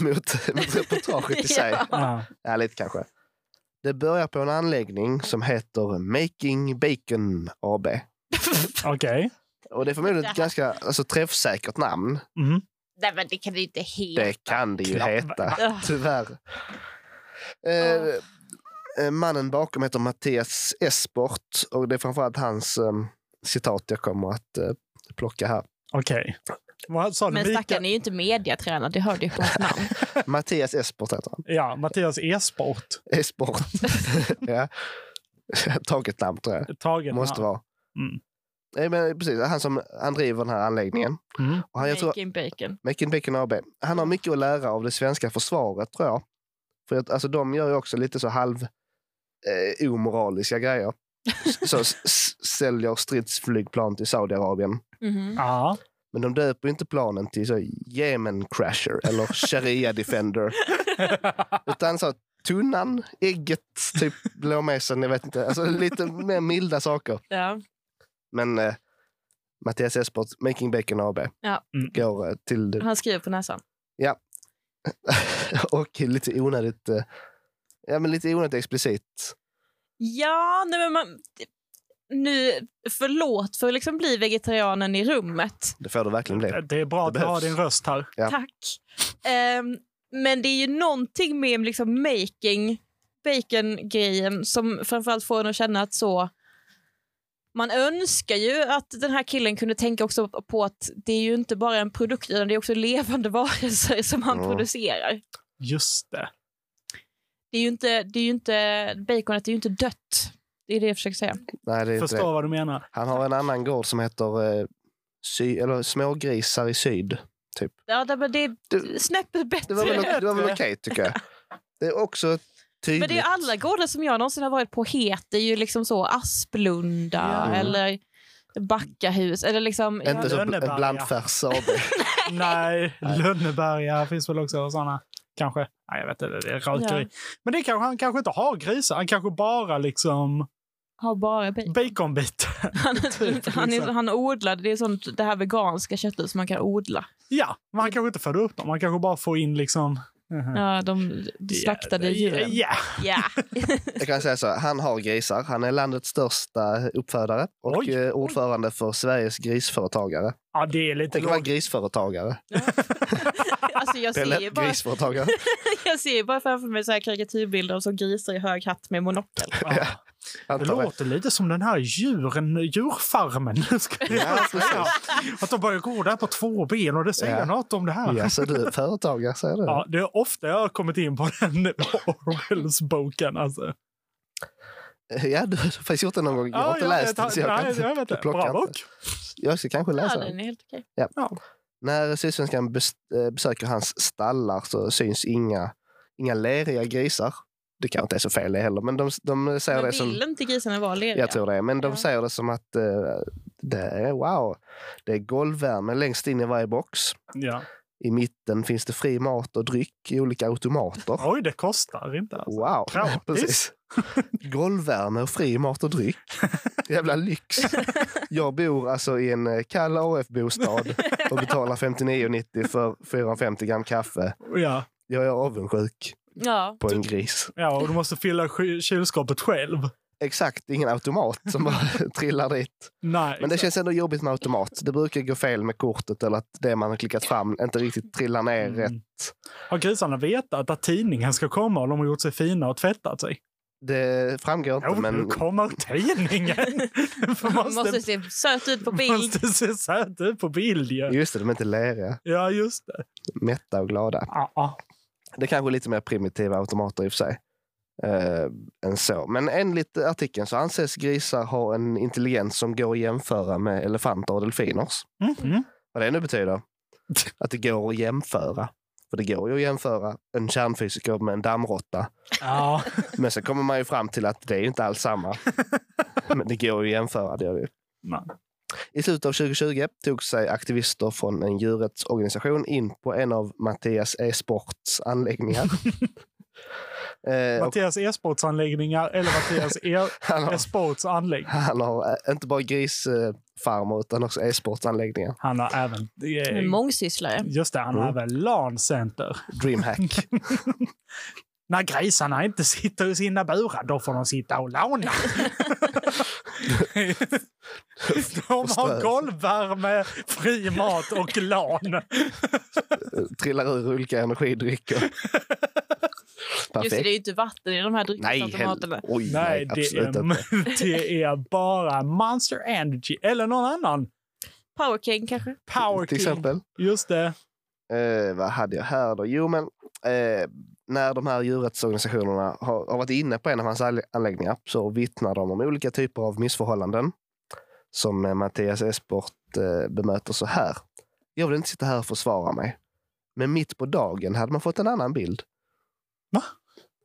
[SPEAKER 3] mot, mot reportaget i sig.
[SPEAKER 4] Ja.
[SPEAKER 2] Ja.
[SPEAKER 3] Ja, lite kanske. Det börjar på en anläggning som heter Making Bacon AB.
[SPEAKER 2] Okej.
[SPEAKER 3] Och det är förmodligen ett ganska alltså, träffsäkert namn.
[SPEAKER 2] Mhm.
[SPEAKER 4] Nej, men det kan du inte helt...
[SPEAKER 3] Det kan det ju
[SPEAKER 2] Klart.
[SPEAKER 3] heta,
[SPEAKER 4] Ah.
[SPEAKER 3] tyvärr. Eh, eh, mannen bakom heter Mattias Esport och det är framförallt hans eh, citat jag kommer att eh, plocka här.
[SPEAKER 2] Okej. Vad sa du?
[SPEAKER 4] Men stackaren
[SPEAKER 2] Mikael?
[SPEAKER 4] är ju inte mediatränad, det hörde ju på hans namn.
[SPEAKER 3] Mattias Esport heter han.
[SPEAKER 2] Ja, Mattias Esport.
[SPEAKER 3] Esport. ja. Taget namn tror jag.
[SPEAKER 2] Taget.
[SPEAKER 3] Måste
[SPEAKER 2] ja.
[SPEAKER 3] vara.
[SPEAKER 2] Mm.
[SPEAKER 3] Nej, men precis, han, som, han driver den här anläggningen.
[SPEAKER 2] Mm.
[SPEAKER 3] Och han, jag tror,
[SPEAKER 4] Making bacon.
[SPEAKER 3] Making Bacon AB. Han har mycket att lära av det svenska försvaret tror jag. För att, alltså, de gör ju också lite så halv eh, omoraliska grejer. S- så s- s- säljer stridsflygplan till Saudiarabien.
[SPEAKER 4] Mhm.
[SPEAKER 2] Ja.
[SPEAKER 3] Men de döper ju inte planen till så Yemen Crasher eller Sharia Defender. Utan så tunnan, ägget, typ blåmesen, jag vet inte. Alltså lite mer milda saker.
[SPEAKER 4] Ja.
[SPEAKER 3] Men eh, Mattias Espert, Making Bacon AB,
[SPEAKER 4] Ja.
[SPEAKER 2] Mm.
[SPEAKER 3] går eh, till det
[SPEAKER 4] Han skriver på näsan.
[SPEAKER 3] och lite onödigt, eh, ja, men lite onödigt explicit.
[SPEAKER 4] Ja, nej men man... Nu, förlåt för att liksom bli vegetarianen i rummet.
[SPEAKER 3] Det får det verkligen bli.
[SPEAKER 2] Det är bra
[SPEAKER 3] Det
[SPEAKER 2] att du har
[SPEAKER 3] behövs.
[SPEAKER 2] din röst här.
[SPEAKER 3] Ja.
[SPEAKER 4] Tack. Ehm, men det är ju någonting med liksom making, bacon-grejen som framförallt får en att känna att så man önskar ju att den här killen kunde tänka också på att det är ju inte bara en produkt utan det är också levande varelser som han
[SPEAKER 3] Ja.
[SPEAKER 4] producerar.
[SPEAKER 2] Just det.
[SPEAKER 4] Det är ju inte, det är ju inte baconet är ju inte dött. Det är det jag försöker säga.
[SPEAKER 3] Nej, det är inte
[SPEAKER 2] Förstår
[SPEAKER 3] det.
[SPEAKER 2] vad du menar.
[SPEAKER 3] Han har en annan gård som heter eh, sy, eller Smågrisar i syd.
[SPEAKER 4] Ja, det, men det är
[SPEAKER 3] Det-
[SPEAKER 4] snäppet bättre.
[SPEAKER 3] Det var väl,
[SPEAKER 2] Heter
[SPEAKER 3] det var väl
[SPEAKER 2] det?
[SPEAKER 3] okej, tycker jag. Det är också tydligt.
[SPEAKER 4] Men det är alla gårdar som jag någonsin har varit på heter ju liksom så Asplunda
[SPEAKER 3] Mm.
[SPEAKER 2] Ja.
[SPEAKER 4] eller Backahus eller liksom...
[SPEAKER 3] Inte
[SPEAKER 4] jag,
[SPEAKER 3] så bl-
[SPEAKER 2] Lönneberga.
[SPEAKER 3] blandfärs AB.
[SPEAKER 2] Nej, Lönneberga finns väl också och såna. kanske. Nej, jag vet inte, det är rökeri. Men det kanske, han kanske inte har grisar, han kanske bara liksom
[SPEAKER 4] Har bara
[SPEAKER 3] Typ,
[SPEAKER 4] bacon.
[SPEAKER 2] baconbitar.
[SPEAKER 4] Han, han,
[SPEAKER 3] liksom.
[SPEAKER 4] är, han odlar, det är sånt, det här veganska köttet som man kan odla.
[SPEAKER 2] Ja, men han kanske inte föder upp dem, han kanske bara får in liksom...
[SPEAKER 3] Mm.
[SPEAKER 4] Ja, de, de slaktade
[SPEAKER 2] Ja,
[SPEAKER 4] djuren.
[SPEAKER 2] ja.
[SPEAKER 4] Ja.
[SPEAKER 3] Jag kan säga så, här, han har grisar. Han är landets största uppfödare och
[SPEAKER 2] Oj.
[SPEAKER 3] eh, ordförande för Sveriges grisföretagare.
[SPEAKER 2] ja, det är lite
[SPEAKER 3] Tänk att vara
[SPEAKER 2] lågt.
[SPEAKER 3] grisföretagare.
[SPEAKER 4] Alltså jag ser ju
[SPEAKER 3] Pelle,
[SPEAKER 4] bara,
[SPEAKER 3] grisföretagare.
[SPEAKER 4] jag ser ju bara framför mig så här karikatyrbilder av så grisar i hög hatt med monokel.
[SPEAKER 2] Ja. Det
[SPEAKER 3] Antar jag.
[SPEAKER 2] låter lite som den här djuren, djurfarmen. Ska jag
[SPEAKER 3] Ja,
[SPEAKER 2] säga. Att de bara går där på två ben och det säger
[SPEAKER 3] Ja.
[SPEAKER 2] något om det här.
[SPEAKER 3] Ja, så du är företagare, säger du.
[SPEAKER 2] Ja, det är ofta jag har kommit in på den Orwells-boken. Alltså.
[SPEAKER 3] Ja, du har faktiskt gjort det någon gång. Jag har
[SPEAKER 2] Ja,
[SPEAKER 3] inte
[SPEAKER 2] jag
[SPEAKER 3] läst
[SPEAKER 2] vet,
[SPEAKER 3] den, så jag
[SPEAKER 2] nej,
[SPEAKER 3] kan inte
[SPEAKER 2] jag vet det.
[SPEAKER 3] plocka
[SPEAKER 2] Bra
[SPEAKER 3] inte.
[SPEAKER 2] bok.
[SPEAKER 3] Jag ska kanske läsa
[SPEAKER 4] Ja,
[SPEAKER 3] den.
[SPEAKER 4] den är helt okej.
[SPEAKER 3] När Sydsvenskan bes- eh, besöker hans stallar så syns inga, inga leriga grisar. Det kanske inte är så fel det heller, men de, de säger
[SPEAKER 4] Men
[SPEAKER 3] det som...
[SPEAKER 4] vill inte grisarna vara lediga?
[SPEAKER 3] Jag tror det, men de
[SPEAKER 4] Ja.
[SPEAKER 3] säger det som att eh, det är wow. Det är golvvärme längst in i varje box.
[SPEAKER 2] Ja.
[SPEAKER 3] I mitten finns det fri mat och dryck i olika automater.
[SPEAKER 2] Oj, det kostar inte. Alltså.
[SPEAKER 3] Wow!
[SPEAKER 2] Gratis.
[SPEAKER 3] Precis. Golvvärme och fri mat och dryck. Jävla lyx. Jag bor alltså i en eh, kall AF-bostad och betalar 59,90 för 450 gram kaffe.
[SPEAKER 2] Ja.
[SPEAKER 3] Jag är avundsjuk
[SPEAKER 4] Ja.
[SPEAKER 3] på en gris.
[SPEAKER 2] ja, och du måste fylla sk- kylskåpet själv.
[SPEAKER 3] Exakt, ingen automat som bara trillar dit.
[SPEAKER 2] Nej,
[SPEAKER 3] Men det
[SPEAKER 2] exakt.
[SPEAKER 3] känns ändå jobbigt med automat. Det brukar gå fel med kortet eller att det man har klickat fram inte riktigt trillar ner
[SPEAKER 2] Mm.
[SPEAKER 3] rätt.
[SPEAKER 2] Har grisarna vetat att tidningen ska komma och de har gjort sig fina och tvättat sig?
[SPEAKER 3] Det framgår inte,
[SPEAKER 2] Jo, nu
[SPEAKER 3] men
[SPEAKER 2] kommer tidningen! Man
[SPEAKER 4] Man måste se söt ut på bild.
[SPEAKER 2] måste se söt ut på bild ju.
[SPEAKER 3] just det, de är inte leriga.
[SPEAKER 2] Ja, just det.
[SPEAKER 3] mätta och glada.
[SPEAKER 2] Ah, ah.
[SPEAKER 3] Det kanske är lite mer primitiva automater i och för sig. Eh, än så. Men enligt artikeln så anses grisar ha en intelligens som går att jämföra med elefanter och delfiners.
[SPEAKER 2] Mhm.
[SPEAKER 3] Vad det nu betyder. Att det går att jämföra. För det går ju att jämföra en kärnfysiker med en dammråtta.
[SPEAKER 2] Ja.
[SPEAKER 3] Men så kommer man ju fram till att det är ju inte alls samma. Men det går ju att jämföra. Det gör det ju.
[SPEAKER 2] Man.
[SPEAKER 3] I slutet av 2020 tog sig aktivister från en djurrättsorganisation in på en av Mattias e-sports anläggningar. eh, och
[SPEAKER 2] Mattias e-sportsanläggningar eller Mattias e-
[SPEAKER 3] han, har,
[SPEAKER 2] e-sportsanläggning.
[SPEAKER 3] han har eh, inte bara grisfarmer utan också e-sportsanläggningar.
[SPEAKER 2] Han har även...
[SPEAKER 4] En
[SPEAKER 2] Eh,
[SPEAKER 4] Mångsysslare.
[SPEAKER 2] just det, han har även LAN-center.
[SPEAKER 3] Dreamhack.
[SPEAKER 2] När grisarna inte sitter i sina burar, då får de sitta och låna. de har golvvärme, fri mat och LAN.
[SPEAKER 3] Trillar ur olika energidrycker.
[SPEAKER 4] Just det, det är
[SPEAKER 3] Perfekt.
[SPEAKER 4] ju inte vatten i de här
[SPEAKER 3] Nej, hel...
[SPEAKER 4] dryckesautomaterna.
[SPEAKER 3] Oj,
[SPEAKER 2] Nej,
[SPEAKER 3] nej,
[SPEAKER 2] det
[SPEAKER 3] absolut inte.
[SPEAKER 2] är, det är bara Monster Energy eller någon annan.
[SPEAKER 4] Power King kanske?
[SPEAKER 2] Power
[SPEAKER 3] Till
[SPEAKER 2] King.
[SPEAKER 3] exempel.
[SPEAKER 2] Just det.
[SPEAKER 3] Eh, vad hade jag här då? Jo, men eh, när de här djurrättsorganisationerna har, har varit inne på en av hans all- anläggningar så vittnar de om olika typer av missförhållanden som eh, Mattias Esport eh, bemöter så här. Jag vill inte sitta här och försvara mig. Men mitt på dagen hade man fått en annan bild.
[SPEAKER 2] Va?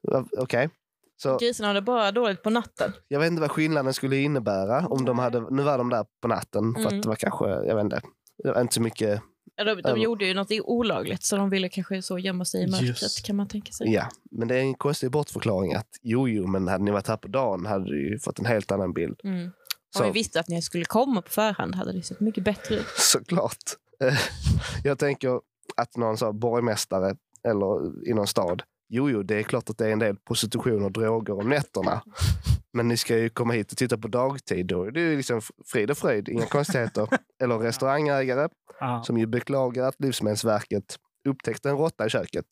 [SPEAKER 3] Ja, Okej. Så
[SPEAKER 4] Grisarna har det bara dåligt på natten.
[SPEAKER 3] jag vet inte vad skillnaden skulle innebära om de hade... Nu var de där på natten för
[SPEAKER 4] Mm.
[SPEAKER 3] att det var kanske, jag vet inte, det var inte så mycket
[SPEAKER 4] Ja, De, de
[SPEAKER 3] Över.
[SPEAKER 4] gjorde ju något olagligt så de ville kanske så gömma sig i mörkret
[SPEAKER 2] Just.
[SPEAKER 4] kan man tänka
[SPEAKER 2] typ.
[SPEAKER 4] sig.
[SPEAKER 3] Ja, men det är en konstig bortförklaring att jo, jo, men hade ni varit här på dagen hade du ju fått en helt annan bild.
[SPEAKER 4] Mm. Om vi
[SPEAKER 3] Så,
[SPEAKER 4] visste att ni skulle komma på förhand hade det sett mycket bättre ut.
[SPEAKER 3] såklart. Eh, Jag tänker att någon sa borgmästare eller i någon stad. Jo, jo, det är klart att det är en del prostitution och droger om nätterna. Men ni ska ju komma hit och titta på dagtid. Då är det ju liksom frid och fröjd, inga konstigheter. Eller restaurangägare
[SPEAKER 2] Ja.
[SPEAKER 3] som ju beklagar att Livsmedelsverket upptäckte en råtta i köket.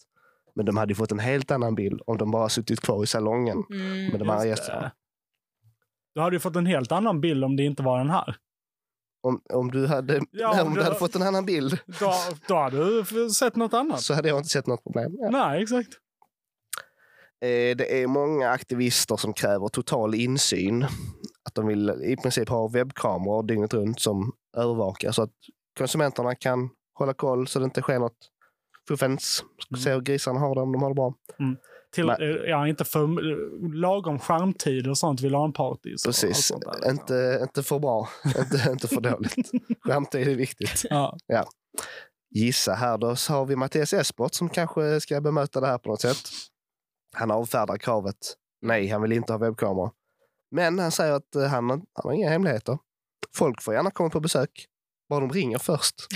[SPEAKER 3] Men de hade ju fått en helt annan bild om de bara suttit kvar i salongen med de
[SPEAKER 2] Mm,
[SPEAKER 3] här
[SPEAKER 2] Just det.
[SPEAKER 3] gästerna.
[SPEAKER 2] Då hade du fått en helt annan bild om det inte var den här.
[SPEAKER 3] Om, om du hade,
[SPEAKER 2] Ja,
[SPEAKER 3] nej,
[SPEAKER 2] om
[SPEAKER 3] om
[SPEAKER 2] det
[SPEAKER 3] du hade
[SPEAKER 2] var-
[SPEAKER 3] fått en annan bild
[SPEAKER 2] Då, då hade du f- sett något annat.
[SPEAKER 3] så hade jag inte sett något problem. Ja.
[SPEAKER 2] Nej, exakt.
[SPEAKER 3] Eh, Det är många aktivister som kräver total insyn. Att de vill i princip ha webbkameror dygnet runt som övervakar så att konsumenterna kan hålla koll så det inte sker något fuffens.
[SPEAKER 2] Mm.
[SPEAKER 3] Se hur grisarna har det, om de har det bra.
[SPEAKER 2] Till,
[SPEAKER 3] Nej.
[SPEAKER 2] eh, ja, inte för eh, lagom skärmtid och sånt vid LAN-partys. och allt
[SPEAKER 3] Precis.
[SPEAKER 2] sånt där. liksom.
[SPEAKER 3] Inte, inte för bra, inte, inte för dåligt. Skämt är ju viktigt.
[SPEAKER 2] Ja.
[SPEAKER 3] gissa här då så har vi Mattias Esport som kanske ska bemöta det här på något sätt. Han avfärdar kravet. Nej, han vill inte ha webbkamera. Men han säger att eh, han, har- han har inga hemligheter. Folk får gärna komma på besök. Bara de ringer först.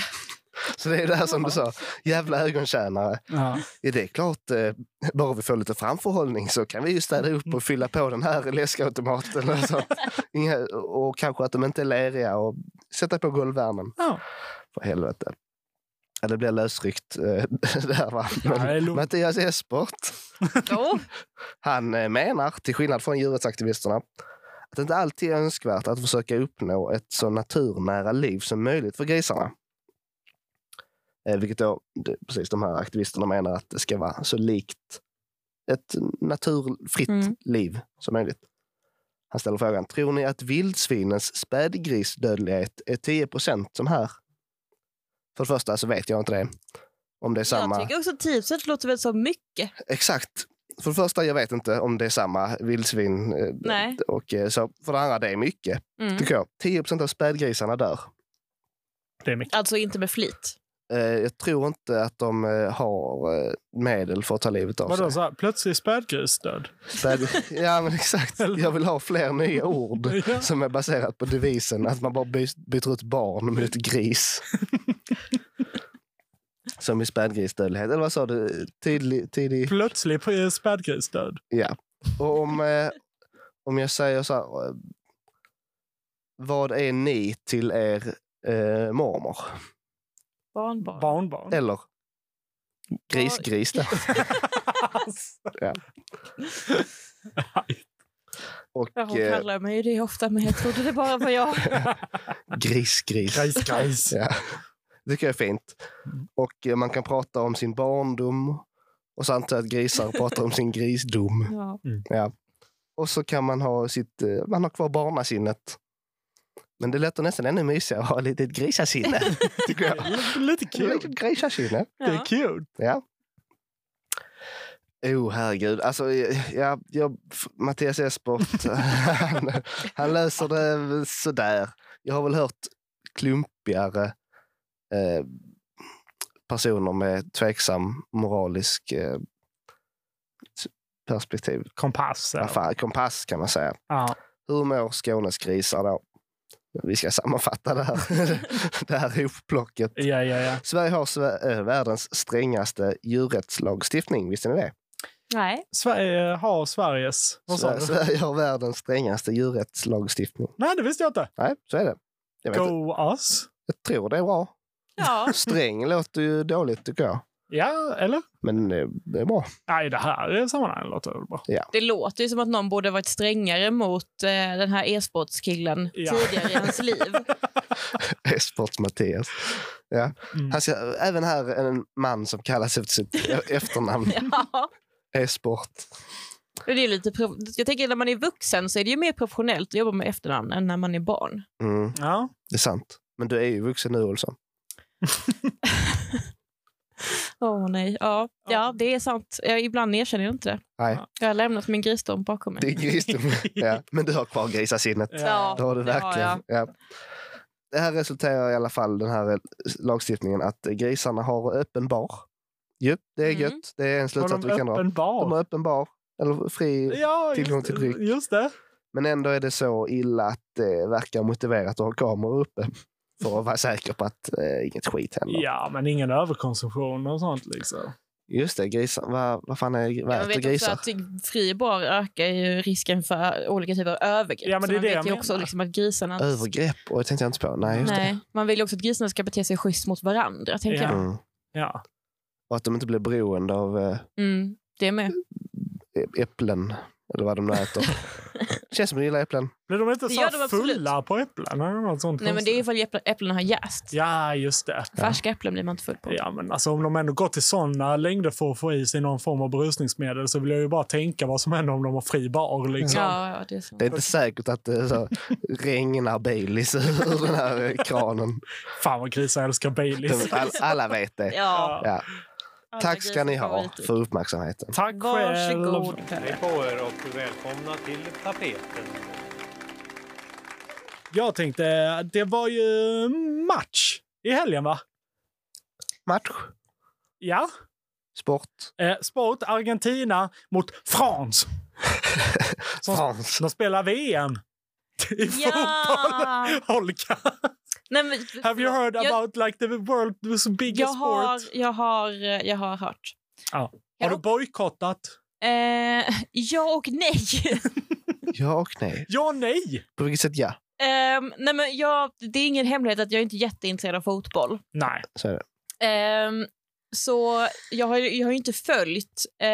[SPEAKER 3] Så det är det här som du sa, jävla ögontjänare.
[SPEAKER 2] Ja.
[SPEAKER 3] Ja, det är klart, eh, bara vi får lite framförhållning så kan vi ju städa upp och fylla på den här läskautomaten. Och, sånt. Inga, och kanske att de inte är leriga och sätta på golvvärmen.
[SPEAKER 2] Ja.
[SPEAKER 3] För helvete. Ja, det blir lösryckt eh, det här va.
[SPEAKER 2] Ja, det är
[SPEAKER 3] Men,
[SPEAKER 2] lugnt.
[SPEAKER 3] Mattias Esport,
[SPEAKER 4] Jo,
[SPEAKER 3] han eh, menar, till skillnad från djurrättsaktivisterna, att det inte alltid är önskvärt att försöka uppnå ett så naturnära liv som möjligt för grisarna. Eh, vilket då, det, precis de här aktivisterna menar att det ska vara så likt ett naturfritt
[SPEAKER 4] Mm.
[SPEAKER 3] liv som möjligt. Han ställer frågan, tror ni att vildsvinens spädgrisdödlighet är 10 som här? För det första så vet jag inte det. Om det är samma...
[SPEAKER 4] jag tycker också att 10 låter väl så mycket.
[SPEAKER 3] Exakt. För det första, jag vet inte om det är samma vildsvin. eh,
[SPEAKER 4] Nej.
[SPEAKER 3] Och eh, så, för det andra, det är mycket,
[SPEAKER 4] Mm.
[SPEAKER 3] tycker jag. 10 av spädgrisarna dör.
[SPEAKER 2] Det är mycket.
[SPEAKER 4] Alltså inte med flit.
[SPEAKER 3] Eh, Jag tror inte att de eh, har eh, medel för att ta livet av
[SPEAKER 2] Vadå,
[SPEAKER 3] sig.
[SPEAKER 2] så här, plötsligt spädgrisdöd?
[SPEAKER 3] Späd... Ja, men exakt. Jag vill ha fler nya ord
[SPEAKER 2] Ja.
[SPEAKER 3] som är baserat på devisen att man bara by- byter ut barn mot gris. Som i spädgrisdödlighet. Eller vad sa du? Tidig, tidig...
[SPEAKER 2] Plötsligt eh, spädgrisdöd?
[SPEAKER 3] Ja. Och om, eh, om jag säger så här... eh, Vad är ni till er eh, mormor?
[SPEAKER 4] Barnbarn.
[SPEAKER 2] Barnbarn?
[SPEAKER 3] Eller grisgris där. Ja. Och
[SPEAKER 4] Ja, hon
[SPEAKER 3] eh,
[SPEAKER 4] kallar mig ju det ofta, men jag trodde det bara var jag.
[SPEAKER 3] grisgris.
[SPEAKER 2] Gris, gris.
[SPEAKER 3] Ja. Det tycker jag är fint. Och eh, man kan prata om sin barndom. Och så antar jag att grisar pratar om sin grisdom.
[SPEAKER 4] Ja.
[SPEAKER 3] Och så kan man ha sitt, eh, man har kvar barnasinnet. Men det låter nästan ännu mysigare att ha ett litet grisasinne. tycker jag.
[SPEAKER 2] Lite
[SPEAKER 3] Ett litet
[SPEAKER 2] cute.
[SPEAKER 3] grisasinne.
[SPEAKER 2] Det är cute.
[SPEAKER 3] Oh, herregud. Alltså, ja, jag, Mattias Esport, han, han löser det sådär. Jag har väl hört klumpigare eh, personer med tveksam moralisk eh, s- perspektiv.
[SPEAKER 2] Kompass. eller?
[SPEAKER 3] Affär, kompass kan man säga.
[SPEAKER 2] Ja.
[SPEAKER 3] Hur mår Skånes grisar då? Vi ska sammanfatta det här, det här hopplocket.
[SPEAKER 2] Ja, ja, ja.
[SPEAKER 3] Sverige har Sve- eh, världens strängaste djurrättslagstiftning, visste ni det?
[SPEAKER 4] Nej.
[SPEAKER 2] Sverige har Sveriges... Vad sa
[SPEAKER 3] Sverige,
[SPEAKER 2] du?
[SPEAKER 3] Sverige har världens strängaste djurrättslagstiftning.
[SPEAKER 2] Nej, det visste jag inte.
[SPEAKER 3] Nej, så är det. Jag, vet, inte.
[SPEAKER 2] Go us.
[SPEAKER 3] jag tror det är bra.
[SPEAKER 4] Ja.
[SPEAKER 3] Sträng låter ju dåligt tycker jag.
[SPEAKER 2] Ja, eller?
[SPEAKER 3] Men eh, det är bra.
[SPEAKER 2] Nej, det här sammanhanget låter väl bra.
[SPEAKER 4] Det låter ju som att någon borde varit strängare mot eh, den här e-sportskillen
[SPEAKER 2] Ja.
[SPEAKER 4] tidigare i hans liv.
[SPEAKER 3] Esports Mattias. Ja.
[SPEAKER 2] Mm.
[SPEAKER 3] Han ska, även här är en man som kallas efter sitt e- efternamn.
[SPEAKER 4] Ja.
[SPEAKER 3] Esport.
[SPEAKER 4] Men Det är lite pro- jag tänker när man är vuxen så är det ju mer professionellt att jobba med efternamn än när man är barn.
[SPEAKER 3] Mm,
[SPEAKER 2] Ja.
[SPEAKER 3] det är sant. Men du är ju vuxen nu Olsson.
[SPEAKER 4] Åh nej. Ja. ja, det är sant. Jag, ibland erkänner jag inte det.
[SPEAKER 3] Nej,
[SPEAKER 4] Jag har lämnat min grisdom bakom mig.
[SPEAKER 3] det är grisdom. Ja. Men du har kvar grisasinnet.
[SPEAKER 4] Ja.
[SPEAKER 3] Det har du
[SPEAKER 4] det har
[SPEAKER 3] verkligen. ja. Det här resulterar i alla fall, den här eh, lagstiftningen, att grisarna har öppen bar. Jo, det är
[SPEAKER 4] Mm.
[SPEAKER 3] gött. Det är en
[SPEAKER 2] Har
[SPEAKER 3] slutsats vi
[SPEAKER 2] de
[SPEAKER 3] kan dra.
[SPEAKER 2] öppen bar?
[SPEAKER 3] De har öppen bar. Eller fri.
[SPEAKER 2] ja,
[SPEAKER 3] tillgång
[SPEAKER 2] just,
[SPEAKER 3] till dryck.
[SPEAKER 2] Just det.
[SPEAKER 3] Men ändå är det så illa att det verkar motiverat att ha kameror uppe. För att vara säker på att eh, inget skit händer.
[SPEAKER 2] Ja, men ingen överkonsumtion och sånt liksom.
[SPEAKER 3] Just det, grisar. Vad vad fan är vad
[SPEAKER 4] Jag
[SPEAKER 3] äter
[SPEAKER 4] vet också
[SPEAKER 3] grisar?
[SPEAKER 4] att fri bar ökar ju risken för olika typer av övergrepp.
[SPEAKER 2] Ja, men
[SPEAKER 4] Så
[SPEAKER 2] det är
[SPEAKER 4] man
[SPEAKER 2] det
[SPEAKER 4] vet
[SPEAKER 2] jag
[SPEAKER 4] ju också
[SPEAKER 2] menar.
[SPEAKER 4] liksom att grisarna...
[SPEAKER 3] Övergrepp? Och det tänkte jag inte på. Nej, just
[SPEAKER 4] Nej, man vill ju också att grisarna ska bete sig schysst mot varandra. Tänker
[SPEAKER 2] Ja.
[SPEAKER 3] det.
[SPEAKER 4] jag.
[SPEAKER 3] Mm.
[SPEAKER 2] Ja.
[SPEAKER 3] Och att de inte blir beroende av eh,
[SPEAKER 4] Mm, det med.
[SPEAKER 3] äpplen. Eller vad de nu äter. Känns som att de gillar äpplen.
[SPEAKER 2] Blir de inte
[SPEAKER 4] Det
[SPEAKER 2] så
[SPEAKER 4] gör
[SPEAKER 2] här
[SPEAKER 4] de absolut.
[SPEAKER 2] fulla på äpplen? Eller något sånt
[SPEAKER 4] Nej, men det är ifall äpplen- äpplena har jäst.
[SPEAKER 2] Ja, just det.
[SPEAKER 4] Färska äpplen blir man inte full på.
[SPEAKER 2] Ja, men alltså om de ändå går till sådana längder för att få i sig någon form av berusningsmedel så vill jag ju bara tänka vad som händer om de har fri bar. Liksom.
[SPEAKER 4] Ja, ja, det är sant.
[SPEAKER 3] Det är inte säkert att det så, regnar Baileys ur den här eh, kranen.
[SPEAKER 2] Fan vad grisar älskar Baileys.
[SPEAKER 3] De- All, alla vet det.
[SPEAKER 4] Ja.
[SPEAKER 3] Ja. Tack ska ni ha
[SPEAKER 4] För...
[SPEAKER 3] för uppmärksamheten.
[SPEAKER 2] Tack själv.
[SPEAKER 4] Varsågod.
[SPEAKER 9] Hej på er och välkomna till tapeten.
[SPEAKER 2] Jag tänkte, det var ju match i helgen va?
[SPEAKER 3] match.
[SPEAKER 2] Ja.
[SPEAKER 3] Sport.
[SPEAKER 2] Eh, sport, Argentina mot France. Som-
[SPEAKER 3] Frans.
[SPEAKER 2] De spelar VM. I fotboll.
[SPEAKER 4] Ja!
[SPEAKER 2] Holka.
[SPEAKER 4] Nej, men,
[SPEAKER 2] Have you heard
[SPEAKER 4] jag,
[SPEAKER 2] about like the world was biggest
[SPEAKER 4] jag har,
[SPEAKER 2] sport?
[SPEAKER 4] jag, har, eh, jag har hört.
[SPEAKER 2] Har du bojkottat?
[SPEAKER 4] Eh, ja och nej.
[SPEAKER 3] Ja och nej.
[SPEAKER 2] Ja, nej.
[SPEAKER 3] På vilket sätt ja?
[SPEAKER 4] Ehm, nej men jag, det är ingen hemlighet att jag är inte är jätteintresserad av fotboll.
[SPEAKER 2] Nej.
[SPEAKER 3] Så är det.
[SPEAKER 4] Ehm, så jag har, ju- jag har ju inte följt eh,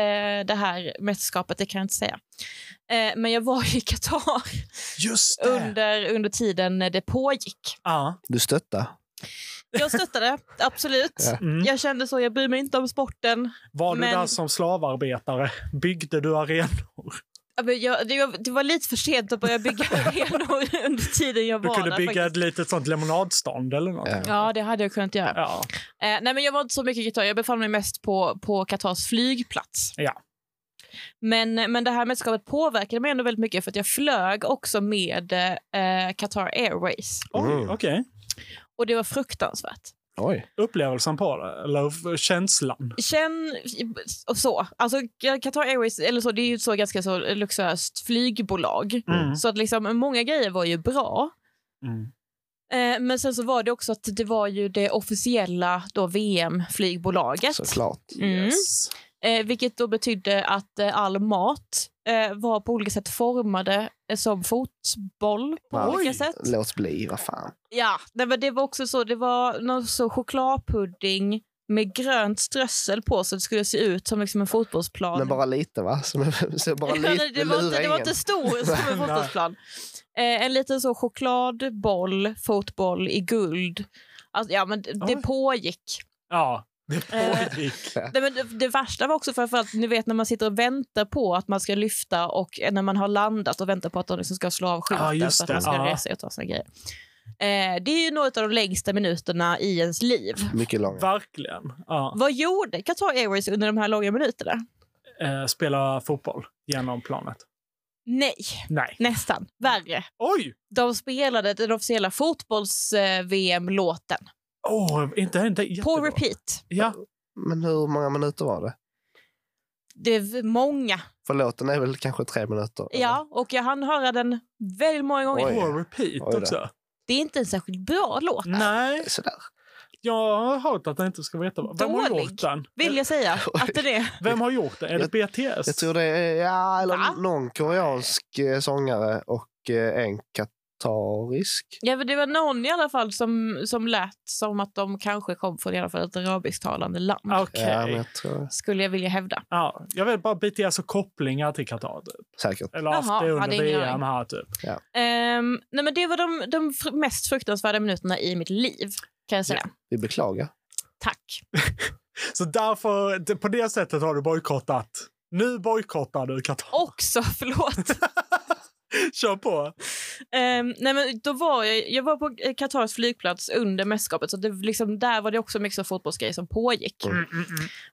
[SPEAKER 4] det här mästerskapet, det kan jag inte säga. Eh, men jag var ju i Qatar
[SPEAKER 2] Just det.
[SPEAKER 4] under, under tiden när det pågick.
[SPEAKER 2] Ja.
[SPEAKER 3] Du stöttar.
[SPEAKER 4] Jag stöttade, absolut.
[SPEAKER 3] Ja.
[SPEAKER 2] Mm.
[SPEAKER 4] Jag kände så, jag bryr mig inte om sporten.
[SPEAKER 2] Var du
[SPEAKER 4] Men-
[SPEAKER 2] där som slavarbetare? Byggde du arenor?
[SPEAKER 4] Ja, men Jag, det, jag, det var lite för sent att börja bygga arenor under tiden jag
[SPEAKER 2] Du
[SPEAKER 4] var
[SPEAKER 2] kunde
[SPEAKER 4] där.
[SPEAKER 2] bygga ett
[SPEAKER 4] faktiskt.
[SPEAKER 2] litet sånt lemonadstånd eller något.
[SPEAKER 3] Ja.
[SPEAKER 4] Ja, det hade jag kunnat göra.
[SPEAKER 2] Ja.
[SPEAKER 4] Eh, nej, men jag var inte så mycket i Qatar. Jag befann mig mest på, på Qatars flygplats.
[SPEAKER 2] Ja.
[SPEAKER 4] Men, men det här mästerskapet påverkade mig ändå väldigt mycket för att jag flög också med eh, Qatar Airways.
[SPEAKER 2] Oj,
[SPEAKER 3] Mm.
[SPEAKER 2] okej.
[SPEAKER 4] Och det var fruktansvärt.
[SPEAKER 3] Oj.
[SPEAKER 2] Upplevelsen på det, eller f- känslan.
[SPEAKER 4] Känn och så. Alltså, Qatar Airways eller så, det är ju ett så ganska så luxuöst flygbolag.
[SPEAKER 2] Mm.
[SPEAKER 4] Så att liksom, många grejer var ju bra.
[SPEAKER 2] Mm.
[SPEAKER 4] Eh, men sen så var det också att det var ju det officiella då VM-flygbolaget.
[SPEAKER 3] Såklart.
[SPEAKER 4] Mm.
[SPEAKER 2] Yes.
[SPEAKER 4] Eh, vilket då betydde att eh, all mat eh, var på olika sätt formade eh, som fotboll på
[SPEAKER 3] Wow.
[SPEAKER 4] olika sätt.
[SPEAKER 3] Låt bli, vad fan.
[SPEAKER 4] Ja, nej, men det var också så, det var någon så chokladpudding med grönt strössel på så det skulle se ut som liksom en fotbollsplan.
[SPEAKER 3] Men bara lite va? Så, så bara
[SPEAKER 4] Ja, nej,
[SPEAKER 3] lite,
[SPEAKER 4] det, var inte,
[SPEAKER 3] lura
[SPEAKER 4] det var
[SPEAKER 3] ingen.
[SPEAKER 4] inte stor som en
[SPEAKER 2] Nej.
[SPEAKER 4] fotbollsplan. Eh, en liten så chokladboll, fotboll i guld. Alltså, ja, men det, det
[SPEAKER 2] Oj.
[SPEAKER 4] pågick.
[SPEAKER 2] Ja, det
[SPEAKER 4] Eh.
[SPEAKER 2] pågick.
[SPEAKER 4] Nej, men det, det värsta var också framförallt ni vet när man sitter och väntar på att man ska lyfta och när man har landat och väntar på att de liksom ska slå av skylten
[SPEAKER 2] Ja, just
[SPEAKER 4] för
[SPEAKER 2] det.
[SPEAKER 4] att man ska
[SPEAKER 2] Ja.
[SPEAKER 4] resa sig och ta sina grejer. Eh, det är ju några av de längsta minuterna i ens liv.
[SPEAKER 3] Mycket långt.
[SPEAKER 2] Verkligen. Ja.
[SPEAKER 4] Vad gjorde Qatar Airways under de här långa minuterna?
[SPEAKER 2] Eh, spela fotboll genom planet.
[SPEAKER 4] Nej,
[SPEAKER 2] Nej.
[SPEAKER 4] nästan. Värre.
[SPEAKER 2] Oj!
[SPEAKER 4] De spelade den officiella fotbolls-VM-låten
[SPEAKER 2] Åh, inte, inte
[SPEAKER 4] på
[SPEAKER 2] jättebra.
[SPEAKER 4] repeat.
[SPEAKER 2] Ja.
[SPEAKER 3] Men hur många minuter var det?
[SPEAKER 4] Det var många.
[SPEAKER 3] För låten är väl kanske tre minuter? eller?
[SPEAKER 4] Ja, och jag hann höra den väldigt många gånger.
[SPEAKER 3] Oj.
[SPEAKER 2] På repeat
[SPEAKER 3] Oj då.
[SPEAKER 2] också.
[SPEAKER 4] Det är inte en särskilt bra låt,
[SPEAKER 2] Nej,
[SPEAKER 3] Sådär.
[SPEAKER 2] jag har hört att jag inte ska veta. vad- Vem har
[SPEAKER 4] Dålig.
[SPEAKER 2] gjort den?
[SPEAKER 4] vill jag säga.
[SPEAKER 3] Oj.
[SPEAKER 4] Att det är.
[SPEAKER 2] Vem har gjort den? Är det
[SPEAKER 3] Jag-
[SPEAKER 2] BTS?
[SPEAKER 3] Jag tror det är ja, eller
[SPEAKER 4] Va?
[SPEAKER 3] någon koreansk eh, sångare och eh, en katarisk.
[SPEAKER 4] Ja, men det var någon i alla fall som, som lät som att de kanske kom från i alla fall ett arabisktalande land.
[SPEAKER 2] Okej.
[SPEAKER 3] Ja, men
[SPEAKER 2] Ja,
[SPEAKER 3] jag tror
[SPEAKER 4] Skulle jag vilja hävda.
[SPEAKER 2] jag vet bara BTS och kopplingar till Qatar. typ.
[SPEAKER 3] säkert.
[SPEAKER 2] Eller haft
[SPEAKER 4] Jaha,
[SPEAKER 2] det
[SPEAKER 4] ja,
[SPEAKER 2] under
[SPEAKER 4] det är ingen
[SPEAKER 2] VM här typ.
[SPEAKER 4] Ehm, nej, men det var de, de fr- mest fruktansvärda minuterna i mitt liv. Kan jag säga.
[SPEAKER 3] Vi beklagar.
[SPEAKER 4] Tack.
[SPEAKER 2] Så därför, det- på det sättet har du bojkottat. Nu bojkottar du Qatar.
[SPEAKER 4] Också, förlåt.
[SPEAKER 2] Kör på.
[SPEAKER 4] Ehm, nej, men då var jag, jag var på eh, Qatars flygplats under mästerskapet, så det, liksom, där var det också mycket så fotbollsgrejer som pågick.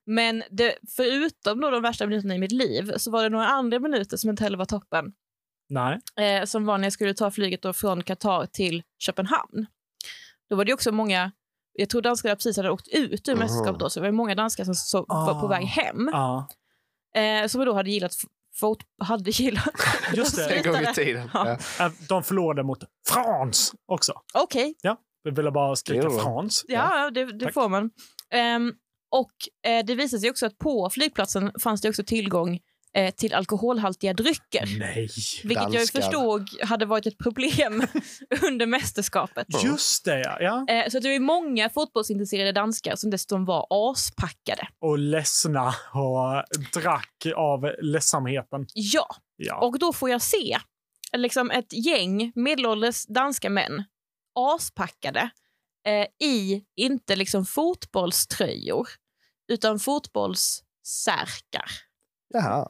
[SPEAKER 4] Men det, förutom då de värsta minuterna i mitt liv så var det några andra minuter som inte heller var toppen.
[SPEAKER 2] Nej.
[SPEAKER 4] eh, som var när jag skulle ta flyget då från Qatar till Köpenhamn. Då var det ju också många, jag tror danskarna precis hade åkt ut ur
[SPEAKER 3] Aha.
[SPEAKER 4] mästerskapet då, så det var ju många danskar som så, var på
[SPEAKER 2] Ah.
[SPEAKER 4] väg hem,
[SPEAKER 2] Ja,
[SPEAKER 4] eh, som då hade gillat f- fot, hade gillat.
[SPEAKER 2] just
[SPEAKER 4] Sluta
[SPEAKER 2] det.
[SPEAKER 3] En gång i
[SPEAKER 4] det.
[SPEAKER 3] tiden.
[SPEAKER 4] Ja.
[SPEAKER 3] Ja.
[SPEAKER 2] Äh, De förlorade mot Frans också.
[SPEAKER 4] Okej,
[SPEAKER 2] Vi ville bara skrika
[SPEAKER 3] Det gjorde de.
[SPEAKER 2] Frans.
[SPEAKER 4] ja, ja, det, det
[SPEAKER 2] Tack.
[SPEAKER 4] får man. Ehm, och eh, det visade sig också att på flygplatsen fanns det också tillgång eh, till alkoholhaltiga drycker.
[SPEAKER 2] Nej.
[SPEAKER 4] Vilket jag
[SPEAKER 3] Danskar.
[SPEAKER 4] förstod hade varit ett problem under mästerskapet.
[SPEAKER 2] Just det, ja. ja.
[SPEAKER 4] Eh, så att det var ju många fotbollsintresserade danskar som dessutom var aspackade.
[SPEAKER 2] Och ledsna och drack av ledsamheten.
[SPEAKER 4] Ja,
[SPEAKER 2] Ja.
[SPEAKER 4] och då får jag se eh, liksom ett gäng medelålders danska män aspackade eh, i, inte liksom fotbollströjor, utan fotbollssärkar.
[SPEAKER 3] Jaha.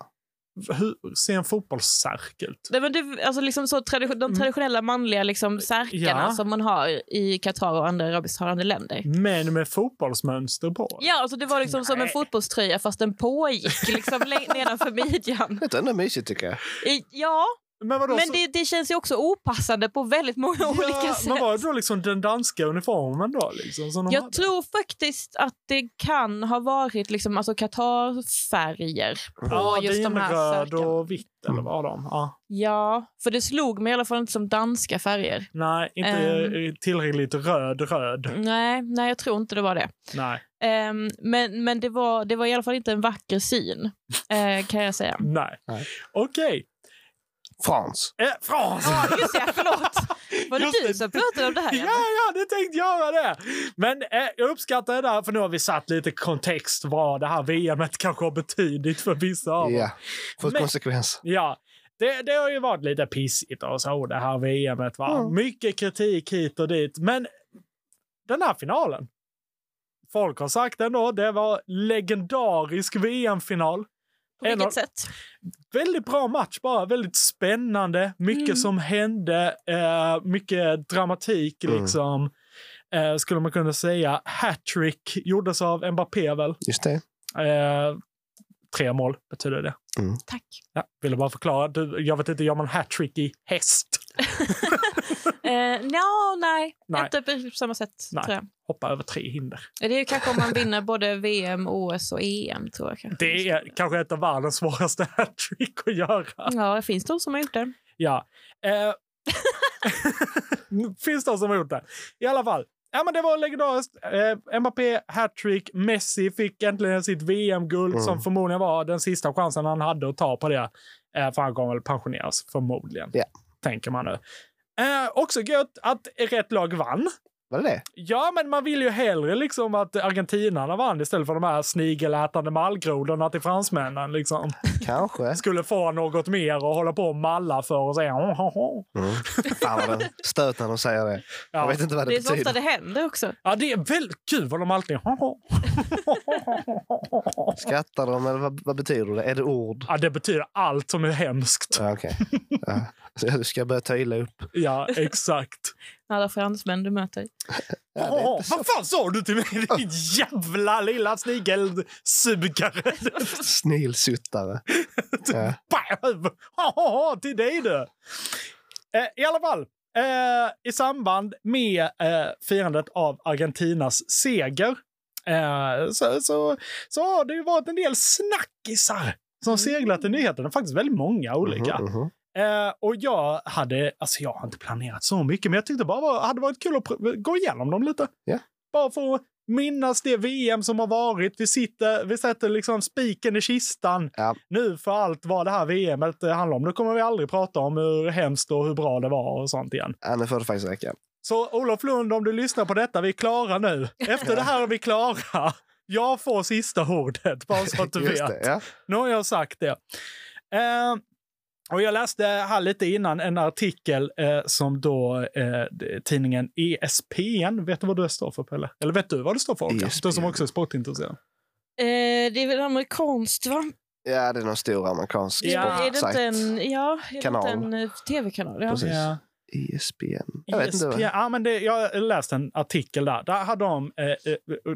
[SPEAKER 2] Hur ser en fotbollssärk ut?
[SPEAKER 4] Nej, men det, alltså liksom så tradition, de traditionella manliga liksom särkarna
[SPEAKER 2] Ja.
[SPEAKER 4] som man har i Qatar och andra arabisktalande länder.
[SPEAKER 2] Män med fotbollsmönster på.
[SPEAKER 4] Ja, alltså det var liksom som en fotbollströja fast den pågick liksom lä- nedanför midjan.
[SPEAKER 3] Det är ändå mysigt tycker jag.
[SPEAKER 4] I- Ja,
[SPEAKER 2] Men vadå?
[SPEAKER 4] Men
[SPEAKER 2] så-
[SPEAKER 4] det, det känns ju också opassande på väldigt många olika sätt.
[SPEAKER 2] Men var det då liksom den danska uniformen då? Liksom, som de
[SPEAKER 4] Jag
[SPEAKER 2] hade?
[SPEAKER 4] tror faktiskt att det kan ha varit liksom, alltså Qatar-färger.
[SPEAKER 2] ja,
[SPEAKER 4] just de här
[SPEAKER 2] vinröd
[SPEAKER 4] sökarna.
[SPEAKER 2] och vitt
[SPEAKER 3] Mm.
[SPEAKER 2] eller vad de? Ja.
[SPEAKER 4] Ja, för det slog mig i alla fall inte som danska färger.
[SPEAKER 2] Nej, inte
[SPEAKER 4] Ehm.
[SPEAKER 2] eh, tillräckligt röd röd.
[SPEAKER 4] Nej, nej jag tror inte det var det.
[SPEAKER 2] Nej,
[SPEAKER 4] Ehm, men men det, var, det var i alla fall inte en vacker syn, eh, kan jag säga.
[SPEAKER 2] nej.
[SPEAKER 3] Nej.
[SPEAKER 2] Okej.
[SPEAKER 3] Frans.
[SPEAKER 2] Eh, Frans!
[SPEAKER 4] Ja, just det, förlåt. Var det
[SPEAKER 2] Just
[SPEAKER 4] du
[SPEAKER 2] det.
[SPEAKER 4] som pratade om det här?
[SPEAKER 2] Ja,
[SPEAKER 4] Janne?
[SPEAKER 2] ja, det tänkte göra det. Men eh, jag uppskattar det där, för nu har vi satt lite kontext vad det här VMet kanske har betydit för vissa av oss.
[SPEAKER 3] Ja, fått
[SPEAKER 2] Men-
[SPEAKER 3] konsekvens.
[SPEAKER 2] Ja, det, det har ju varit lite pissigt och så det här VMet. Va? Mycket kritik hit och dit. Men den här finalen. Folk har sagt ändå, det var legendarisk VM-final.
[SPEAKER 4] På vilket
[SPEAKER 2] En av-
[SPEAKER 4] sätt?
[SPEAKER 2] Väldigt bra match bara, väldigt spännande. Mycket som hände, eh, mycket dramatik
[SPEAKER 3] Mm.
[SPEAKER 2] liksom. Eh, skulle man kunna säga. Hattrick gjordes av Mbappé väl?
[SPEAKER 3] Just det.
[SPEAKER 2] Eh, tre mål betyder det.
[SPEAKER 4] Tack.
[SPEAKER 2] Ja, ville bara förklara. Du, jag vet inte, gör man hattrick i häst?
[SPEAKER 4] Eh, no, nej.
[SPEAKER 2] Nej.
[SPEAKER 4] inte på samma sätt.
[SPEAKER 2] Nej.
[SPEAKER 4] Tror jag.
[SPEAKER 2] Hoppa över tre hinder.
[SPEAKER 4] Det är ju kanske om man vinner både VM, OS och EM. tror jag. Kanske.
[SPEAKER 2] Det är kanske ett av världens svåraste hattrick att göra.
[SPEAKER 4] Ja, det finns de som har gjort det.
[SPEAKER 2] Ja. Eh. Finns de som har gjort det. I alla fall. Ja, men det var legendariskt. Eh, Mbappé hattrick. Messi fick äntligen sitt VM-guld
[SPEAKER 3] Mm.
[SPEAKER 2] som förmodligen var den sista chansen han hade att ta på det. Eh, för han kommer väl pensioneras förmodligen.
[SPEAKER 3] Ja.
[SPEAKER 2] Tänker man nu. Eh, också gött att rätt lag vann.
[SPEAKER 3] Var det det?
[SPEAKER 2] Ja, men man vill ju hellre liksom att argentinarna vann istället för de här snigelätande mallgrodorna till fransmännen. Liksom.
[SPEAKER 3] Kanske.
[SPEAKER 2] Skulle få något mer och hålla på och malla för och säga "Ho, ho, ho."
[SPEAKER 3] Mm. Fan vad den stöt när de säger det. Jag
[SPEAKER 2] ja.
[SPEAKER 3] vet inte vad det,
[SPEAKER 4] Det är så ofta
[SPEAKER 3] betyder.
[SPEAKER 4] det händer också.
[SPEAKER 2] ja, det är väldigt kul vad de alltid "Ho, ho."
[SPEAKER 3] Skrattar de eller vad, vad betyder det? Är det ord?
[SPEAKER 2] Ja, det betyder allt som är hemskt.
[SPEAKER 3] Ja, okej. Ja. Så jag ska börja ta illa upp.
[SPEAKER 2] Ja, exakt.
[SPEAKER 4] Alla fransmän du möter.
[SPEAKER 3] Ja, det är inte så
[SPEAKER 2] Vad fan sa du till mig, din jävla lilla snigelsugare?
[SPEAKER 3] snilsuttare. Ja.
[SPEAKER 2] Bam! Ha, ha, ha, till dig du! Eh, I alla fall, eh, i samband med eh, firandet av Argentinas seger eh, så, så, så har det ju varit en del snackisar som seglat i nyheterna. Faktiskt väldigt många olika.
[SPEAKER 3] Mhm, mhm.
[SPEAKER 2] Eh, och jag hade, alltså jag har inte planerat så mycket, men jag tyckte bara var, hade varit kul att pr- gå igenom dem lite.
[SPEAKER 3] Ja.
[SPEAKER 2] Bara för att minnas det VM som har varit. Vi, sitter, vi sätter liksom spiken i kistan
[SPEAKER 3] Ja.
[SPEAKER 2] nu för allt vad det här VMet handlar om. Nu kommer vi aldrig prata om hur hemskt och hur bra det var och sånt igen.
[SPEAKER 3] Ja, nu får det faktiskt räcka.
[SPEAKER 2] Så Olof Lund, om du lyssnar på detta, vi är klara nu. Efter det här är vi klara. Jag får sista ordet, bara så att du
[SPEAKER 3] Just
[SPEAKER 2] vet.
[SPEAKER 3] det, ja.
[SPEAKER 2] Nu har jag sagt det. Eh, och jag läste här lite innan en artikel eh, som då eh, d- tidningen E ESPN, vet du vad det står för Pelle? Eller vet du vad det står för? Håkan? Du som
[SPEAKER 3] ESPN.
[SPEAKER 2] också är sportintresserad.
[SPEAKER 4] Eh, det är väl amerikanskt, va?
[SPEAKER 3] ja, det är någon stor amerikansk
[SPEAKER 2] Ja.
[SPEAKER 4] Är det
[SPEAKER 3] sportsajt.
[SPEAKER 4] inte en, ja, är det
[SPEAKER 3] Kanal.
[SPEAKER 4] inte en eh, tv-kanal? Ja.
[SPEAKER 3] Precis. E ESPN. Jag vet inte.
[SPEAKER 2] ESPN,
[SPEAKER 3] vad-
[SPEAKER 2] ja, men det, jag läste en artikel där. Där hade de eh, eh,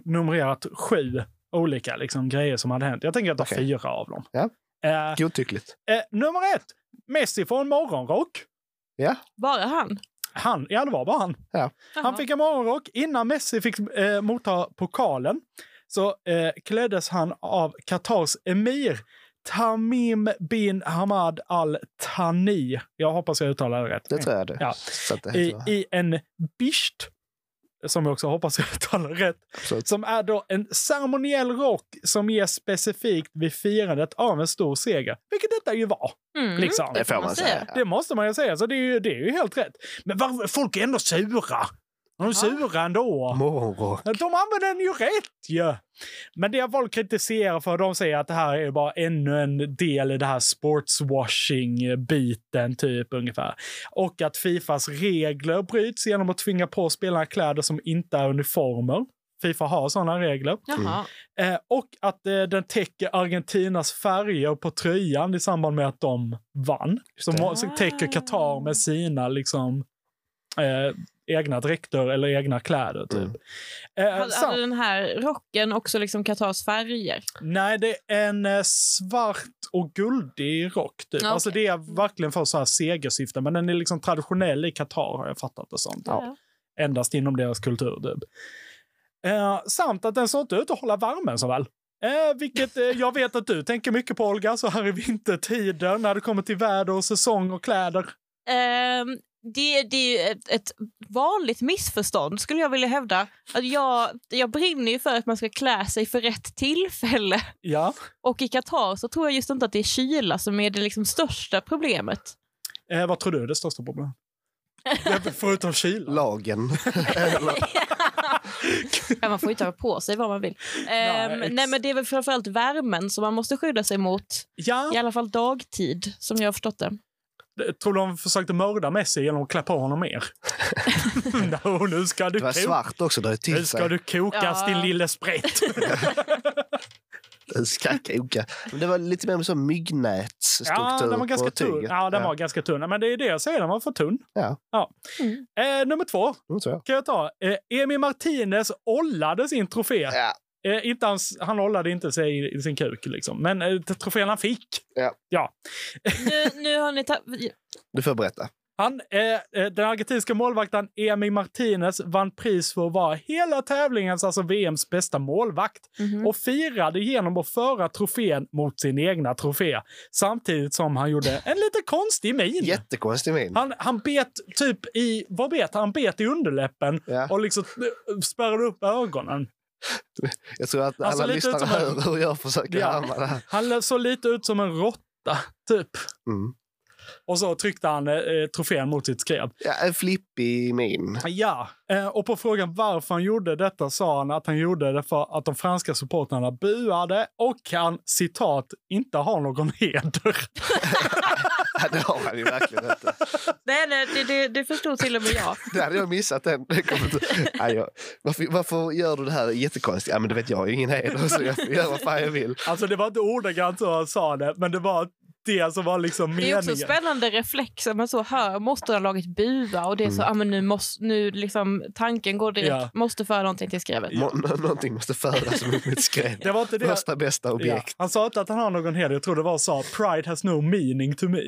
[SPEAKER 2] numrerat sju olika liksom, grejer som hade hänt. Jag tänker att det
[SPEAKER 3] Okej.
[SPEAKER 2] fyra av dem.
[SPEAKER 3] Ja.
[SPEAKER 2] Eh,
[SPEAKER 3] Godtyckligt.
[SPEAKER 2] eh, nummer ett, Messi får en morgonrock.
[SPEAKER 3] Ja,
[SPEAKER 4] Bara han?
[SPEAKER 2] Han, ja, det var bara han. Han fick en morgonrock innan Messi fick eh, motta pokalen. Så eh, kläddes han av Qatars emir Tamim bin Hamad Al Thani. Jag hoppas jag uttalar det rätt.
[SPEAKER 3] det tror jag det.
[SPEAKER 2] Ja.
[SPEAKER 3] Så att det
[SPEAKER 2] I,
[SPEAKER 3] heter,
[SPEAKER 2] I en bisht, som jag också hoppas jag uttalar rätt,
[SPEAKER 3] absolut.
[SPEAKER 2] som är då en ceremoniell rock som ges specifikt vid firandet av en stor seger, vilket detta ju var.
[SPEAKER 4] Mm.
[SPEAKER 2] Liksom.
[SPEAKER 3] Det får man säga.
[SPEAKER 2] Det måste man ju säga, så det är ju, det är ju helt rätt. Men varför, folk är ändå sura. De är sura ändå.
[SPEAKER 3] Morgonrock.
[SPEAKER 2] De använder den ju rätt ju! Men det folk kritiserar för, de säger att det här är ju bara ännu en del i det här sportswashing-biten, typ ungefär. Och att Fifas regler bryts genom att tvinga på spelarna kläder som inte är uniformer. Fifa har sådana regler.
[SPEAKER 4] Jaha.
[SPEAKER 2] Eh, och att eh, den täcker Argentinas färger på tröjan i samband med att de vann. Så
[SPEAKER 3] det.
[SPEAKER 2] må- så täcker Qatar med sina liksom, eh, egna dräkter eller egna kläder. Typ.
[SPEAKER 3] Mm.
[SPEAKER 2] Eh,
[SPEAKER 4] Hade,
[SPEAKER 2] så-
[SPEAKER 4] hade den här rocken också liksom Katars färger?
[SPEAKER 2] Nej, det är en eh, svart och guldig rock. Typ.
[SPEAKER 4] Ja,
[SPEAKER 2] Alltså
[SPEAKER 4] okej.
[SPEAKER 2] det är verkligen för så här segersyfte, men den är liksom traditionell i Qatar har jag fattat det som. Typ.
[SPEAKER 4] Ja.
[SPEAKER 2] Endast inom deras kultur. Typ. Eh, samt att den såg inte ut att hålla värmen så väl. Eh, vilket eh, jag vet att du tänker mycket på Olga, så här i vintertider när det kommer till väder och säsong och kläder.
[SPEAKER 4] Ehm, det, det är ju ett, ett vanligt missförstånd skulle jag vilja hävda. Att jag, jag brinner ju för att man ska klä sig för rätt tillfälle.
[SPEAKER 2] Ja.
[SPEAKER 4] Och i Qatar så tror jag just inte att det är kyla som är det liksom största problemet.
[SPEAKER 2] Eh, vad tror du är det största problemet? Det är Förutom kylan.
[SPEAKER 3] Lagen.
[SPEAKER 4] Ja, man får ju ta på sig vad man vill. Ehm,
[SPEAKER 2] ex-
[SPEAKER 4] nej, men det är väl framförallt värmen som man måste skydda sig mot.
[SPEAKER 2] Ja,
[SPEAKER 4] I alla fall dagtid, som jag har förstått det.
[SPEAKER 2] Tror du de försökte mörda Messi genom att klä på honom mer? no, nu ska du
[SPEAKER 3] Det var
[SPEAKER 2] koka,
[SPEAKER 3] svart också, det är
[SPEAKER 2] nu
[SPEAKER 3] till sig.
[SPEAKER 2] ska du kokas
[SPEAKER 4] Ja.
[SPEAKER 2] din lille sprätt.
[SPEAKER 3] Den ska koka. Men det var lite mer med så myggnätsstruktur
[SPEAKER 2] ja, den var ganska
[SPEAKER 3] på
[SPEAKER 2] tunn.
[SPEAKER 3] tyget.
[SPEAKER 2] Ja, den var ganska tunn. Men det är det jag säger, den var för tunn.
[SPEAKER 3] Ja.
[SPEAKER 2] Ja.
[SPEAKER 4] Mm.
[SPEAKER 2] Eh, nummer två
[SPEAKER 3] Mm, så ja.
[SPEAKER 2] kan jag ta. Eh, Emi Martinez ollade sin trofé.
[SPEAKER 3] Ja.
[SPEAKER 2] Eh, inte hans, han ollade inte sig i- i sin kuk, liksom. men eh, trofén han fick.
[SPEAKER 3] Ja.
[SPEAKER 4] Nu, nu har ni ta-
[SPEAKER 3] Du får berätta.
[SPEAKER 2] Han, eh, eh, den argentinska målvakten Emi Martinez vann pris för att vara hela tävlingens, alltså VMs, bästa målvakt.
[SPEAKER 4] Mhm.
[SPEAKER 2] och firade genom att föra trofén mot sin egna trofé samtidigt som han gjorde en lite konstig min.
[SPEAKER 3] Jättekonstig min.
[SPEAKER 2] Han, han bet typ i, vad bet han? Han bet i underläppen
[SPEAKER 3] Ja.
[SPEAKER 2] och liksom eh, spärrade upp ögonen.
[SPEAKER 3] Jag tror att
[SPEAKER 2] Alltså, lite
[SPEAKER 3] alla lyssnare
[SPEAKER 2] som en-
[SPEAKER 3] hör hur jag försöker
[SPEAKER 2] Ja.
[SPEAKER 3] härma det här.
[SPEAKER 2] Han lö- såg lite ut som en råtta, typ.
[SPEAKER 3] Mm.
[SPEAKER 2] Och så tryckte han eh, trofén mot sitt skrev.
[SPEAKER 3] Ja, en flippig min.
[SPEAKER 2] Ja, eh, och på frågan varför han gjorde detta sa han att han gjorde det för att de franska supportrarna buade och han, citat, inte har någon heder.
[SPEAKER 3] Ja, det har han ju verkligen inte.
[SPEAKER 4] nej, nej, det, det, det förstod till och med jag.
[SPEAKER 3] Det hade jag missat den. Det kommer inte- Nej, jag... varför, varför gör du det här jättekonstigt? Ja, men det vet jag, jag har ju ingen heder så jag får göra vad fan jag vill.
[SPEAKER 2] Alltså det var inte ordagrant så han sa det, men det var det som var liksom
[SPEAKER 4] Det är också
[SPEAKER 2] meningen.
[SPEAKER 4] spännande reflex att man så hör motståndarlaget bua och det är så,
[SPEAKER 3] Mm.
[SPEAKER 4] ah, men nu måste, nu liksom tanken går direkt,
[SPEAKER 2] Ja.
[SPEAKER 4] måste föra någonting till skrevet.
[SPEAKER 3] Må- nå- Någonting måste födas mot mitt skräp.
[SPEAKER 2] Det var inte det.
[SPEAKER 3] Första bästa
[SPEAKER 2] Ja.
[SPEAKER 3] objekt.
[SPEAKER 2] Han sa inte att han har någon heder. Jag tror det var sa “Pride has no meaning to me”.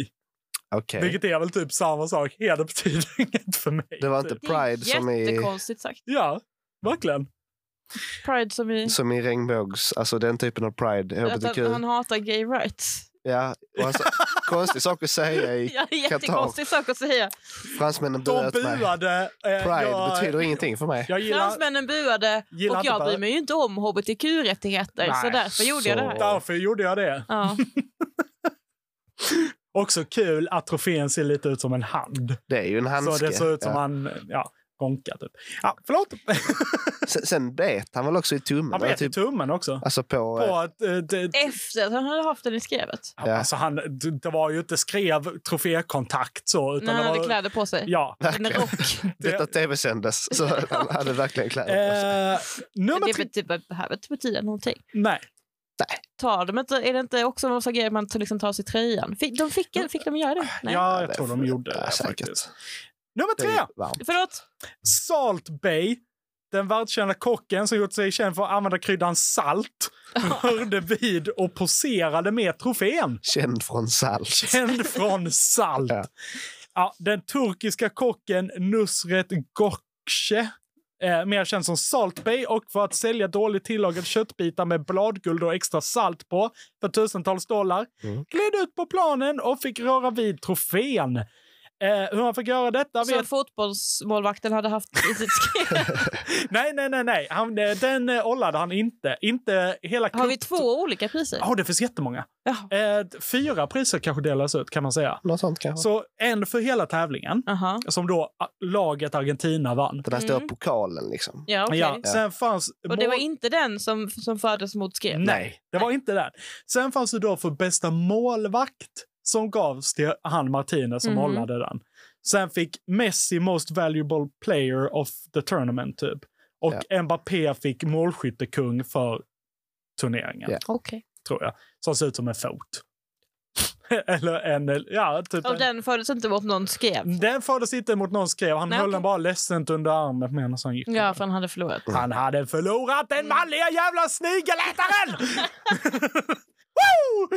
[SPEAKER 3] Okej.
[SPEAKER 2] Vilket är väl typ samma sak. Heder betyder inget för mig.
[SPEAKER 3] Det var inte
[SPEAKER 2] Typ.
[SPEAKER 4] Det är
[SPEAKER 3] Pride som i,
[SPEAKER 4] jättekonstigt sagt.
[SPEAKER 2] Ja, verkligen.
[SPEAKER 4] Pride som i
[SPEAKER 3] som i regnbågs... Alltså den typen av Pride.
[SPEAKER 4] att
[SPEAKER 3] HBTQ.
[SPEAKER 4] han, han hatar gay rights.
[SPEAKER 3] Ja, och alltså, konstig sak att säga i
[SPEAKER 4] Ja, det är jättekonstig sak att säga.
[SPEAKER 3] fransmännen
[SPEAKER 2] De
[SPEAKER 3] bröt mig.
[SPEAKER 2] buade. Eh,
[SPEAKER 3] Pride
[SPEAKER 2] jag,
[SPEAKER 3] betyder ingenting för mig.
[SPEAKER 2] Jag gillar...
[SPEAKER 4] Fransmännen buade
[SPEAKER 2] gillar
[SPEAKER 4] och
[SPEAKER 2] inte
[SPEAKER 4] jag
[SPEAKER 2] bara-
[SPEAKER 4] bryr mig ju inte om hbtq-rättigheter så
[SPEAKER 2] Nej,
[SPEAKER 4] därför gjorde jag det här.
[SPEAKER 3] så-
[SPEAKER 2] Därför gjorde jag det.
[SPEAKER 4] Ja.
[SPEAKER 2] Också kul att trofén ser lite ut som en hand.
[SPEAKER 3] Det är ju en handske.
[SPEAKER 2] Så det ser ut som
[SPEAKER 3] ja.
[SPEAKER 2] han... Ja, gonka typ. Ja, förlåt.
[SPEAKER 3] sen, sen bet han väl också i tummen?
[SPEAKER 2] Han
[SPEAKER 3] va?
[SPEAKER 2] bet i tummen också.
[SPEAKER 3] Alltså på...
[SPEAKER 2] På att, eh, det,
[SPEAKER 4] Efter att han hade haft den i skrevet.
[SPEAKER 2] Ja. Alltså han, d- det var ju inte skrev trofékontakt så. Utan
[SPEAKER 4] När han
[SPEAKER 2] det var,
[SPEAKER 4] hade kläder på sig.
[SPEAKER 2] Ja.
[SPEAKER 4] En
[SPEAKER 3] Verkligen.
[SPEAKER 4] rock.
[SPEAKER 2] Det-
[SPEAKER 3] Detta tv-sändes, så han hade verkligen kläder på sig.
[SPEAKER 2] Eh, nummer
[SPEAKER 4] Det
[SPEAKER 2] tre.
[SPEAKER 4] be- det behöver inte betyda typ någonting.
[SPEAKER 2] Nej.
[SPEAKER 4] tar de inte, är det inte också någon sån grej att man till- liksom tar sig tröjan? Fick de, fick, fick de göra det? Nej.
[SPEAKER 2] Ja,
[SPEAKER 3] det
[SPEAKER 2] jag tror
[SPEAKER 3] får-
[SPEAKER 2] de gjorde det.
[SPEAKER 3] ja, säkert.
[SPEAKER 2] Faktiskt. Nummer
[SPEAKER 3] Det är ju
[SPEAKER 2] tre.
[SPEAKER 3] varmt.
[SPEAKER 4] Förlåt?
[SPEAKER 2] Salt Bay. Den världskända kocken som gjort sig känd för att använda kryddan salt rörde vid och poserade med trofén.
[SPEAKER 3] Känd från Salt.
[SPEAKER 2] Känd från salt.
[SPEAKER 3] Ja.
[SPEAKER 2] Ja. den turkiska kocken Nusret Gökçe, eh, mer känd som Salt Bay och för att sälja dåligt tillagade köttbitar med bladguld och extra salt på för tusentals dollar, gled ut på planen och fick röra vid trofén. Eh, hur han fick göra detta
[SPEAKER 4] Så
[SPEAKER 2] vet...
[SPEAKER 4] fotbollsmålvakten hade haft i sitt skrev.
[SPEAKER 2] Nej, nej, nej, nej. Han, eh, den eh, ollade han inte. Inte hela
[SPEAKER 4] Har vi
[SPEAKER 2] kupp-
[SPEAKER 4] två olika priser?
[SPEAKER 2] Ja, det finns jättemånga.
[SPEAKER 4] Jaha.
[SPEAKER 2] Eh, fyra priser kanske delas ut kan man säga.
[SPEAKER 3] Något sånt kanske.
[SPEAKER 2] Så en för hela tävlingen.
[SPEAKER 4] Aha.
[SPEAKER 2] som då a- laget Argentina vann.
[SPEAKER 3] Den här stora
[SPEAKER 4] Mm.
[SPEAKER 3] pokalen liksom.
[SPEAKER 4] Ja, okej.
[SPEAKER 2] Ja, sen fanns...
[SPEAKER 4] Och det var
[SPEAKER 2] mål-
[SPEAKER 4] inte den som, som fördes mot skrev?
[SPEAKER 2] Nej, det var inte den. Sen fanns det då för bästa målvakt som gavs till han Martinez som
[SPEAKER 4] Mhm.
[SPEAKER 2] hållade den. Sen fick Messi most valuable player of the tournament typ. Och Mbappé fick målskyttekung för turneringen,
[SPEAKER 3] Ja.
[SPEAKER 4] Okej.
[SPEAKER 2] tror jag. Som ser ut som en fot. Eller en... Ja, typ
[SPEAKER 4] Och
[SPEAKER 2] en,
[SPEAKER 4] den fördes inte upp någon skrev.
[SPEAKER 2] Den fördes inte emot någon skrev. Han
[SPEAKER 4] Nej,
[SPEAKER 2] höll
[SPEAKER 4] okej.
[SPEAKER 2] den bara ledsamt under armen medan han gick.
[SPEAKER 4] Ja, för han hade förlorat.
[SPEAKER 2] Han hade förlorat den manliga jävla snigelätaren! Woo!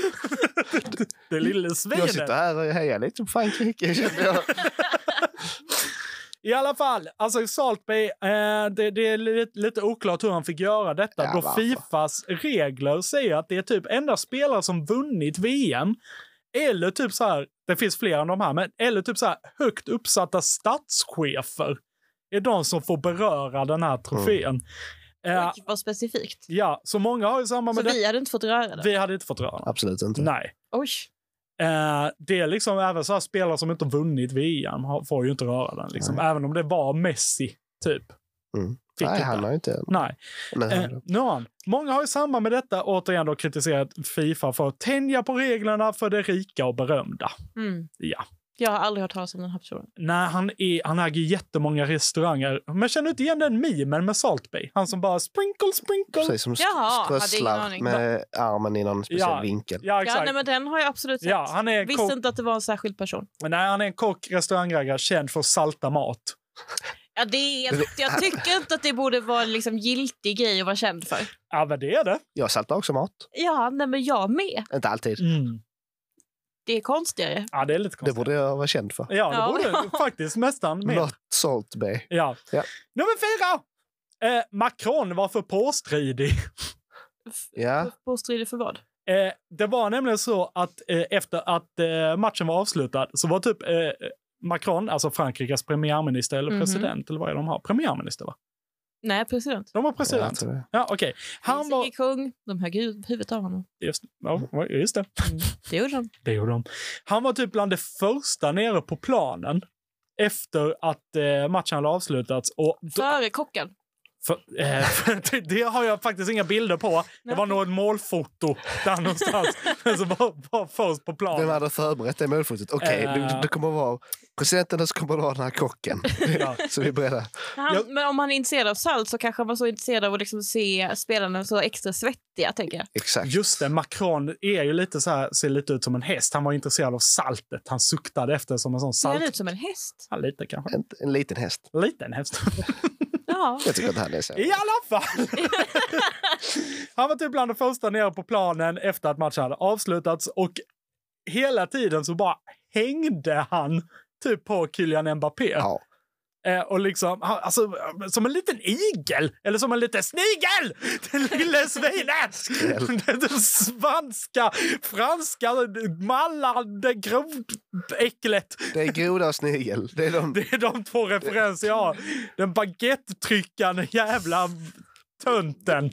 [SPEAKER 2] det lille
[SPEAKER 3] Jag sitter
[SPEAKER 2] svinet.
[SPEAKER 3] här och hejar lite på Frankrike. kände jag.
[SPEAKER 2] I alla fall, alltså Saltby, eh, det, det är lite, lite oklart hur han fick göra detta
[SPEAKER 3] Ja, alltså.
[SPEAKER 2] då
[SPEAKER 3] varför?
[SPEAKER 2] Fifas regler säger att det är typ enda spelare som vunnit VM eller typ så här, det finns fler än de här, men eller typ så här högt uppsatta statschefer är de som får beröra den här trofén.
[SPEAKER 3] Mm.
[SPEAKER 2] Eh,
[SPEAKER 4] Oj, vad specifikt.
[SPEAKER 2] Ja, så många har ju samma
[SPEAKER 4] Så
[SPEAKER 2] med det.
[SPEAKER 4] vi hade inte fått röra det?
[SPEAKER 2] Vi hade inte fått röra dem.
[SPEAKER 3] Absolut inte.
[SPEAKER 2] Nej.
[SPEAKER 4] Oj.
[SPEAKER 2] Eh, det är liksom även så här spelare som inte vunnit VM har- får ju inte röra den. Liksom. Även om det var Messi, typ.
[SPEAKER 3] Mm.
[SPEAKER 2] Fick
[SPEAKER 3] Nej,
[SPEAKER 2] inte.
[SPEAKER 3] han har ju inte...
[SPEAKER 2] Nej.
[SPEAKER 3] Men
[SPEAKER 2] Eh,
[SPEAKER 3] han då.
[SPEAKER 2] nu har han. Många har i samband med detta återigen då kritiserat Fifa för att tänja på reglerna för det rika och berömda.
[SPEAKER 4] Mm.
[SPEAKER 2] Ja.
[SPEAKER 4] Jag har aldrig hört talas om den här personen.
[SPEAKER 2] Nej, han, är, han äger jättemånga restauranger. Men känner du inte igen den memen med Salt Bay? Han som bara sprinkle, sprinkle.
[SPEAKER 3] Precis som
[SPEAKER 4] Jaha, hade ingen
[SPEAKER 3] strösslar
[SPEAKER 4] aning.
[SPEAKER 3] med armen i någon speciell
[SPEAKER 2] Ja.
[SPEAKER 3] vinkel.
[SPEAKER 2] Ja,
[SPEAKER 4] Ja,
[SPEAKER 2] exakt.
[SPEAKER 4] nej, men den har jag absolut sett.
[SPEAKER 2] Ja, han är en
[SPEAKER 4] Visste
[SPEAKER 2] kock.
[SPEAKER 4] inte att det var en särskild person.
[SPEAKER 2] Nej, han är en kock, restaurangägare, känd för att salta mat.
[SPEAKER 4] Ja, det är, jag tycker inte att det borde vara liksom giltig grej att vara känd för.
[SPEAKER 2] Ja, men det är det.
[SPEAKER 3] Jag saltar också mat.
[SPEAKER 4] Ja, nej, men jag med.
[SPEAKER 3] Inte alltid.
[SPEAKER 2] Mm.
[SPEAKER 4] Det är konstigare.
[SPEAKER 2] Ja, det är lite konstigt.
[SPEAKER 3] Det borde jag vara känd för.
[SPEAKER 2] Ja, det
[SPEAKER 4] Ja.
[SPEAKER 2] borde du faktiskt nästan. Med.
[SPEAKER 3] Not Salt Bay.
[SPEAKER 2] Ja.
[SPEAKER 3] Ja.
[SPEAKER 2] Nummer fyra! Eh, Macron var för påstridig.
[SPEAKER 3] Ja.
[SPEAKER 4] Påstridig för vad?
[SPEAKER 2] Eh, det var nämligen så att eh, efter att eh, matchen var avslutad så var typ eh, Macron, alltså Frankrikes premiärminister eller
[SPEAKER 4] Mhm.
[SPEAKER 2] president eller vad är de har? Premiärminister va?
[SPEAKER 4] Nej, president.
[SPEAKER 2] De har
[SPEAKER 3] Ja,
[SPEAKER 2] president.
[SPEAKER 3] jag tror det.
[SPEAKER 2] Ja, okej. Han
[SPEAKER 4] Finns
[SPEAKER 2] var...
[SPEAKER 4] ingen kung. De högg hu- huvudet av honom.
[SPEAKER 2] Just, ja, just det.
[SPEAKER 4] Det gjorde de.
[SPEAKER 2] Det gjorde de. Han var typ bland det första nere på planen efter att eh, matchen hade avslutats. Och då-
[SPEAKER 4] Före kocken.
[SPEAKER 2] För, eh, för det, det har jag faktiskt inga bilder på. Det var nog ett målfoto där någonstans. som var, var först på
[SPEAKER 3] Vem
[SPEAKER 2] planen.
[SPEAKER 3] hade förberett det målfotot? Okej,
[SPEAKER 2] Eh.
[SPEAKER 3] det, det kommer att vara presidenten och så kommer det vara den här kocken.
[SPEAKER 2] Ja.
[SPEAKER 3] så vi är beredda.
[SPEAKER 4] Han,
[SPEAKER 2] Jag-
[SPEAKER 4] Men om han är intresserad av salt så kanske han var så intresserad av att liksom se spelarna så extra svettiga, tänker jag.
[SPEAKER 3] Exakt.
[SPEAKER 2] Just det, Macron är ju lite så här, ser lite ut som en häst. Han var intresserad av saltet. Han suktade efter som en sån
[SPEAKER 4] Ser
[SPEAKER 2] salt...
[SPEAKER 4] han ut som en häst?
[SPEAKER 2] Ja, lite kanske.
[SPEAKER 3] En, en liten häst.
[SPEAKER 2] Liten häst.
[SPEAKER 4] Ja.
[SPEAKER 3] Jag tycker att han är så.
[SPEAKER 2] I alla fall! Han var typ bland de första nere på planen efter att matchen hade avslutats och hela tiden så bara hängde han typ på Kylian Mbappé.
[SPEAKER 3] Ja.
[SPEAKER 2] Eh, och liksom, han- alltså, som en liten igel, eller som en liten snigel! Den lille svinet! Den svanska, franska, mallande grodäcklet.
[SPEAKER 3] Det är groda och snigel. Det är de,
[SPEAKER 2] Det är de två referenser jag har. Den baguettetryckande jävla tönten.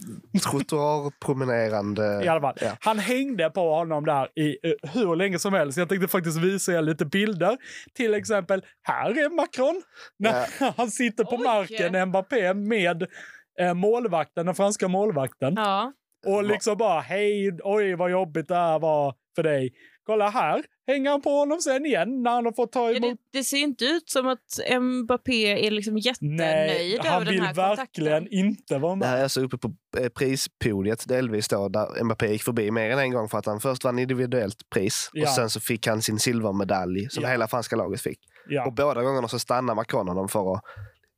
[SPEAKER 3] trottoarpromenerande...
[SPEAKER 2] I alla fall.
[SPEAKER 3] Ja.
[SPEAKER 2] Han hängde på honom där i eh, hur länge som helst. Jag tänkte faktiskt visa er lite bilder. Till exempel, här är Macron. När han sitter på
[SPEAKER 4] Oj.
[SPEAKER 2] marken, Mbappé, med eh, målvakten, den franska målvakten.
[SPEAKER 4] ja.
[SPEAKER 2] Och liksom bara, hej, oj vad jobbigt det här var för dig. Kolla här, hänger han på honom sen igen när han har fått ta
[SPEAKER 4] Ja, det,
[SPEAKER 2] emot.
[SPEAKER 4] det ser inte ut som att Mbappé är liksom
[SPEAKER 2] Nej,
[SPEAKER 4] jättenöjd
[SPEAKER 2] han
[SPEAKER 4] över den
[SPEAKER 2] vill
[SPEAKER 4] här
[SPEAKER 2] verkligen
[SPEAKER 4] kontakten.
[SPEAKER 2] inte vara
[SPEAKER 3] Det
[SPEAKER 2] med.
[SPEAKER 3] här är alltså uppe på eh, prispodiet delvis då, där Mbappé gick förbi mer än en gång för att han först vann individuellt pris
[SPEAKER 2] Ja.
[SPEAKER 3] och sen så fick han sin silvermedalj som
[SPEAKER 2] Ja.
[SPEAKER 3] hela franska laget fick. Och
[SPEAKER 2] Ja.
[SPEAKER 3] båda gångerna så stannar Macron honom för att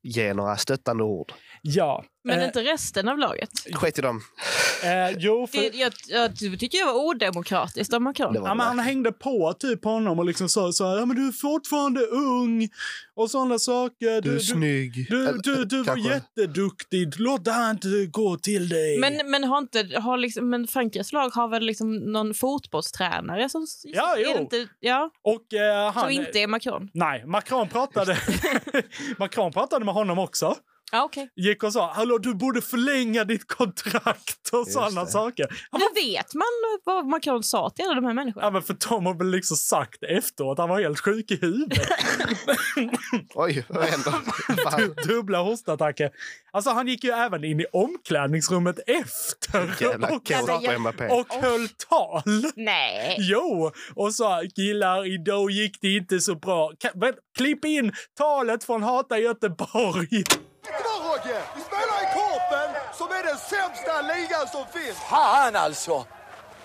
[SPEAKER 3] ge några stöttande ord.
[SPEAKER 2] ja.
[SPEAKER 4] Men
[SPEAKER 2] eh,
[SPEAKER 4] inte resten av laget.
[SPEAKER 3] Skit i dem.
[SPEAKER 2] eh, jo, för...
[SPEAKER 4] Det, jag, jag tycker jag var odemokratiskt av Macron.
[SPEAKER 3] Det var
[SPEAKER 2] Ja,
[SPEAKER 3] det
[SPEAKER 2] men han
[SPEAKER 3] verkligen.
[SPEAKER 2] hängde på typ honom och liksom sa så här, ja, men du är fortfarande ung och sådana saker.
[SPEAKER 3] Du är
[SPEAKER 2] Du, du,
[SPEAKER 3] snygg.
[SPEAKER 2] du,
[SPEAKER 3] Eller,
[SPEAKER 2] du, du var
[SPEAKER 3] kanske.
[SPEAKER 2] jätteduktig. Låt det här inte gå till dig.
[SPEAKER 4] Men, men, har inte, har liksom, men Frankrikes lag har väl liksom någon fotbollstränare som,
[SPEAKER 2] Ja,
[SPEAKER 4] är det
[SPEAKER 2] jo.
[SPEAKER 4] inte, ja,
[SPEAKER 2] och eh, han...
[SPEAKER 4] som inte är Macron?
[SPEAKER 2] Nej, Macron pratade, Macron pratade med honom också.
[SPEAKER 4] Ja, okay.
[SPEAKER 2] Gick och sa, hallå du borde förlänga ditt kontrakt och
[SPEAKER 3] Just
[SPEAKER 2] sådana
[SPEAKER 3] det.
[SPEAKER 2] saker. Han
[SPEAKER 4] Nu vet man vad Macron sa till alla de här människorna.
[SPEAKER 2] Ja, men för Tom har väl liksom sagt efteråt, han var helt sjuk i huvudet.
[SPEAKER 3] Oj, vad händer? Fan,
[SPEAKER 2] Dubbla hostattacker. Alltså han gick ju även in i omklädningsrummet efter.
[SPEAKER 3] jävla
[SPEAKER 2] också.
[SPEAKER 3] kaos på Mbappé.
[SPEAKER 2] och höll tal.
[SPEAKER 4] Nej.
[SPEAKER 2] Jo, och sa killar, idag gick det inte så bra. Ka- men, klipp in talet från Hata Göteborg.
[SPEAKER 10] Vi spelar i Korpen, som är den sämsta ligan som finns. Fan alltså!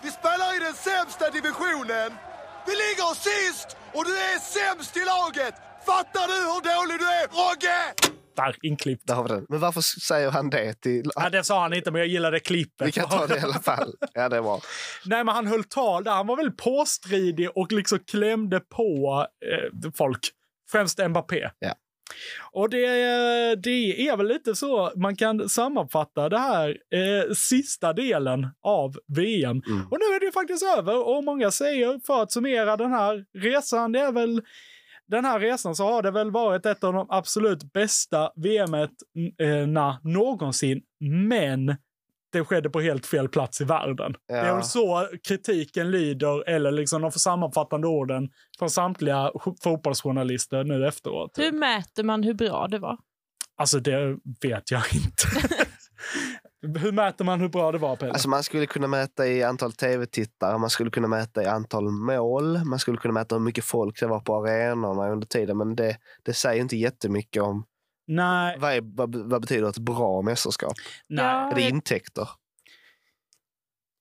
[SPEAKER 10] Vi spelar i den sämsta divisionen Vi ligger sist och du är sämst i laget! Fattar du hur dålig du är, Rogge?
[SPEAKER 2] Där, inklippt.
[SPEAKER 3] Där har vi den. Men varför s- säger han det till...
[SPEAKER 2] Ja, det sa han inte, men jag gillade klippet.
[SPEAKER 3] Vi kan ta det i alla fall. Ja, det är bra.
[SPEAKER 2] Nej, men han höll tal där. Han var väl påstridig och liksom klämde på eh, folk. Främst Mbappé.
[SPEAKER 3] Ja.
[SPEAKER 2] Och det, eh, det är väl lite så man kan sammanfatta det här eh, sista delen av VM.
[SPEAKER 3] Mm.
[SPEAKER 2] Och nu är det ju faktiskt över och många säger för att summera den här resan, det är väl den här resan så har det väl varit ett av de absolut bästa VM-erna någonsin. Men det skedde på helt fel plats i världen.
[SPEAKER 3] Ja.
[SPEAKER 2] Det är väl så kritiken lyder, eller liksom de sammanfattande orden från samtliga jo- fotbollsjournalister nu efteråt.
[SPEAKER 4] Hur mäter man hur bra det var?
[SPEAKER 2] Alltså, det vet jag inte. hur mäter man hur bra det var, Pelle?
[SPEAKER 3] Alltså man skulle kunna mäta i antal tv-tittare, man skulle kunna mäta i antal mål, man skulle kunna mäta hur mycket folk det var på arenorna under tiden. Men det, det säger inte jättemycket om
[SPEAKER 2] nej,
[SPEAKER 3] vad, är, vad, vad betyder ett bra mästerskap?
[SPEAKER 2] nej.
[SPEAKER 4] Ja,
[SPEAKER 3] Är det intäkter?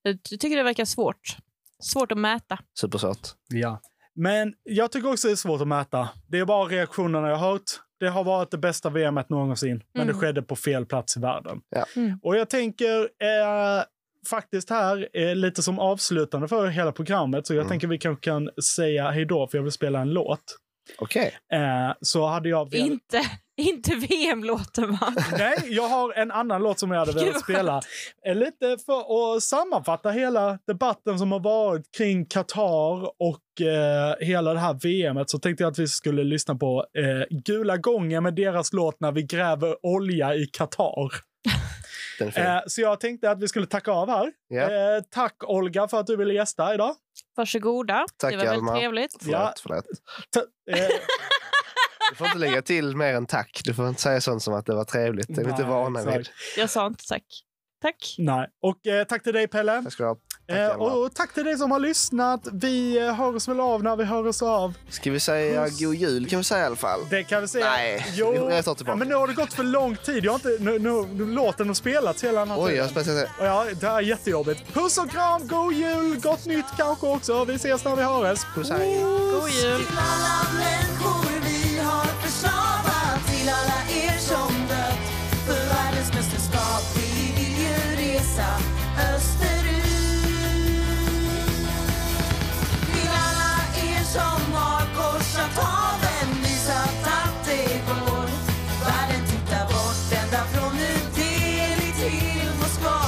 [SPEAKER 4] jag tycker det verkar svårt. Svårt att mäta.
[SPEAKER 3] Supersått.
[SPEAKER 2] Ja. Men jag tycker också det är svårt att mäta. Det är bara reaktionerna jag har hört. Det har varit det bästa VM et någonsin, men
[SPEAKER 4] Mm.
[SPEAKER 2] det skedde på fel plats i världen.
[SPEAKER 3] Ja.
[SPEAKER 4] Mm.
[SPEAKER 2] Och jag tänker eh, faktiskt här, eh, lite som avslutande för hela programmet, så jag
[SPEAKER 3] Mm.
[SPEAKER 2] tänker vi kanske kan säga hej då, för jag vill spela en låt.
[SPEAKER 3] Okej.
[SPEAKER 2] Eh, så hade jag... velat-
[SPEAKER 4] Inte, inte VM-låten va?
[SPEAKER 2] Nej, jag har en annan låt som jag hade
[SPEAKER 4] Gud,
[SPEAKER 2] velat
[SPEAKER 4] vad
[SPEAKER 2] spela. Eh, Lite för att sammanfatta hela debatten som har varit kring Qatar och eh, hela det här VMet så tänkte jag att vi skulle lyssna på eh, Gula gången med deras låt När vi gräver olja i Qatar.
[SPEAKER 3] Den är fin.
[SPEAKER 2] Eh, så jag tänkte att vi skulle tacka av här.
[SPEAKER 3] Ja.
[SPEAKER 2] Eh, tack Olga för att du ville gästa idag.
[SPEAKER 4] Varsågoda.
[SPEAKER 3] Tack,
[SPEAKER 4] det var väldigt
[SPEAKER 3] Alma.
[SPEAKER 4] trevligt.
[SPEAKER 3] Förlåt,
[SPEAKER 2] ja.
[SPEAKER 3] förlåt.
[SPEAKER 2] Ta- eh,
[SPEAKER 3] Du får inte lägga till mer än tack. Du får inte säga sånt som att det var trevligt. Det är vi inte
[SPEAKER 2] Nej,
[SPEAKER 3] vana vid.
[SPEAKER 2] exakt.
[SPEAKER 4] Jag sa inte tack. Tack.
[SPEAKER 2] Nej. Och eh, tack till dig Pelle.
[SPEAKER 3] Tack ska du ha. Tack,
[SPEAKER 2] Eh,
[SPEAKER 3] Hjalmar.
[SPEAKER 2] och tack till dig som har lyssnat. Vi eh, hörs väl av när vi hör oss av.
[SPEAKER 3] Ska vi säga
[SPEAKER 2] Puss.
[SPEAKER 3] god jul kan vi säga i alla fall?
[SPEAKER 2] Det kan vi säga.
[SPEAKER 3] Nej,
[SPEAKER 2] jo.
[SPEAKER 3] jag tar tillbaka.
[SPEAKER 2] Men nu har det gått för lång tid. Jag har inte, nu, nu, nu, låten har spelats hela natten.
[SPEAKER 3] Oj, jag har spetsat det.
[SPEAKER 2] Ja, det här är jättejobbigt. Puss och kram, god jul, gott nytt kanske också. Vi ses när vi hörs.
[SPEAKER 3] Puss hej.
[SPEAKER 4] God jul.
[SPEAKER 6] alla människor vi har förslavat Till alla er som dött för världens mästerskap Vi vill ju resa österut Till alla er som har korsat haven Visat att det går Världen tittar bort ända från New Delhi till Moskva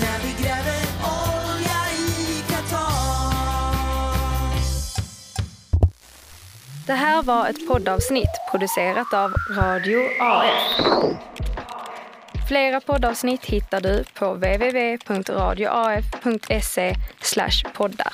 [SPEAKER 6] när vi gräver olja i Qatar.
[SPEAKER 1] Det här var ett poddavsnitt producerat av Radio AF. Flera poddavsnitt hittar du på www.radioaf.se E poddar.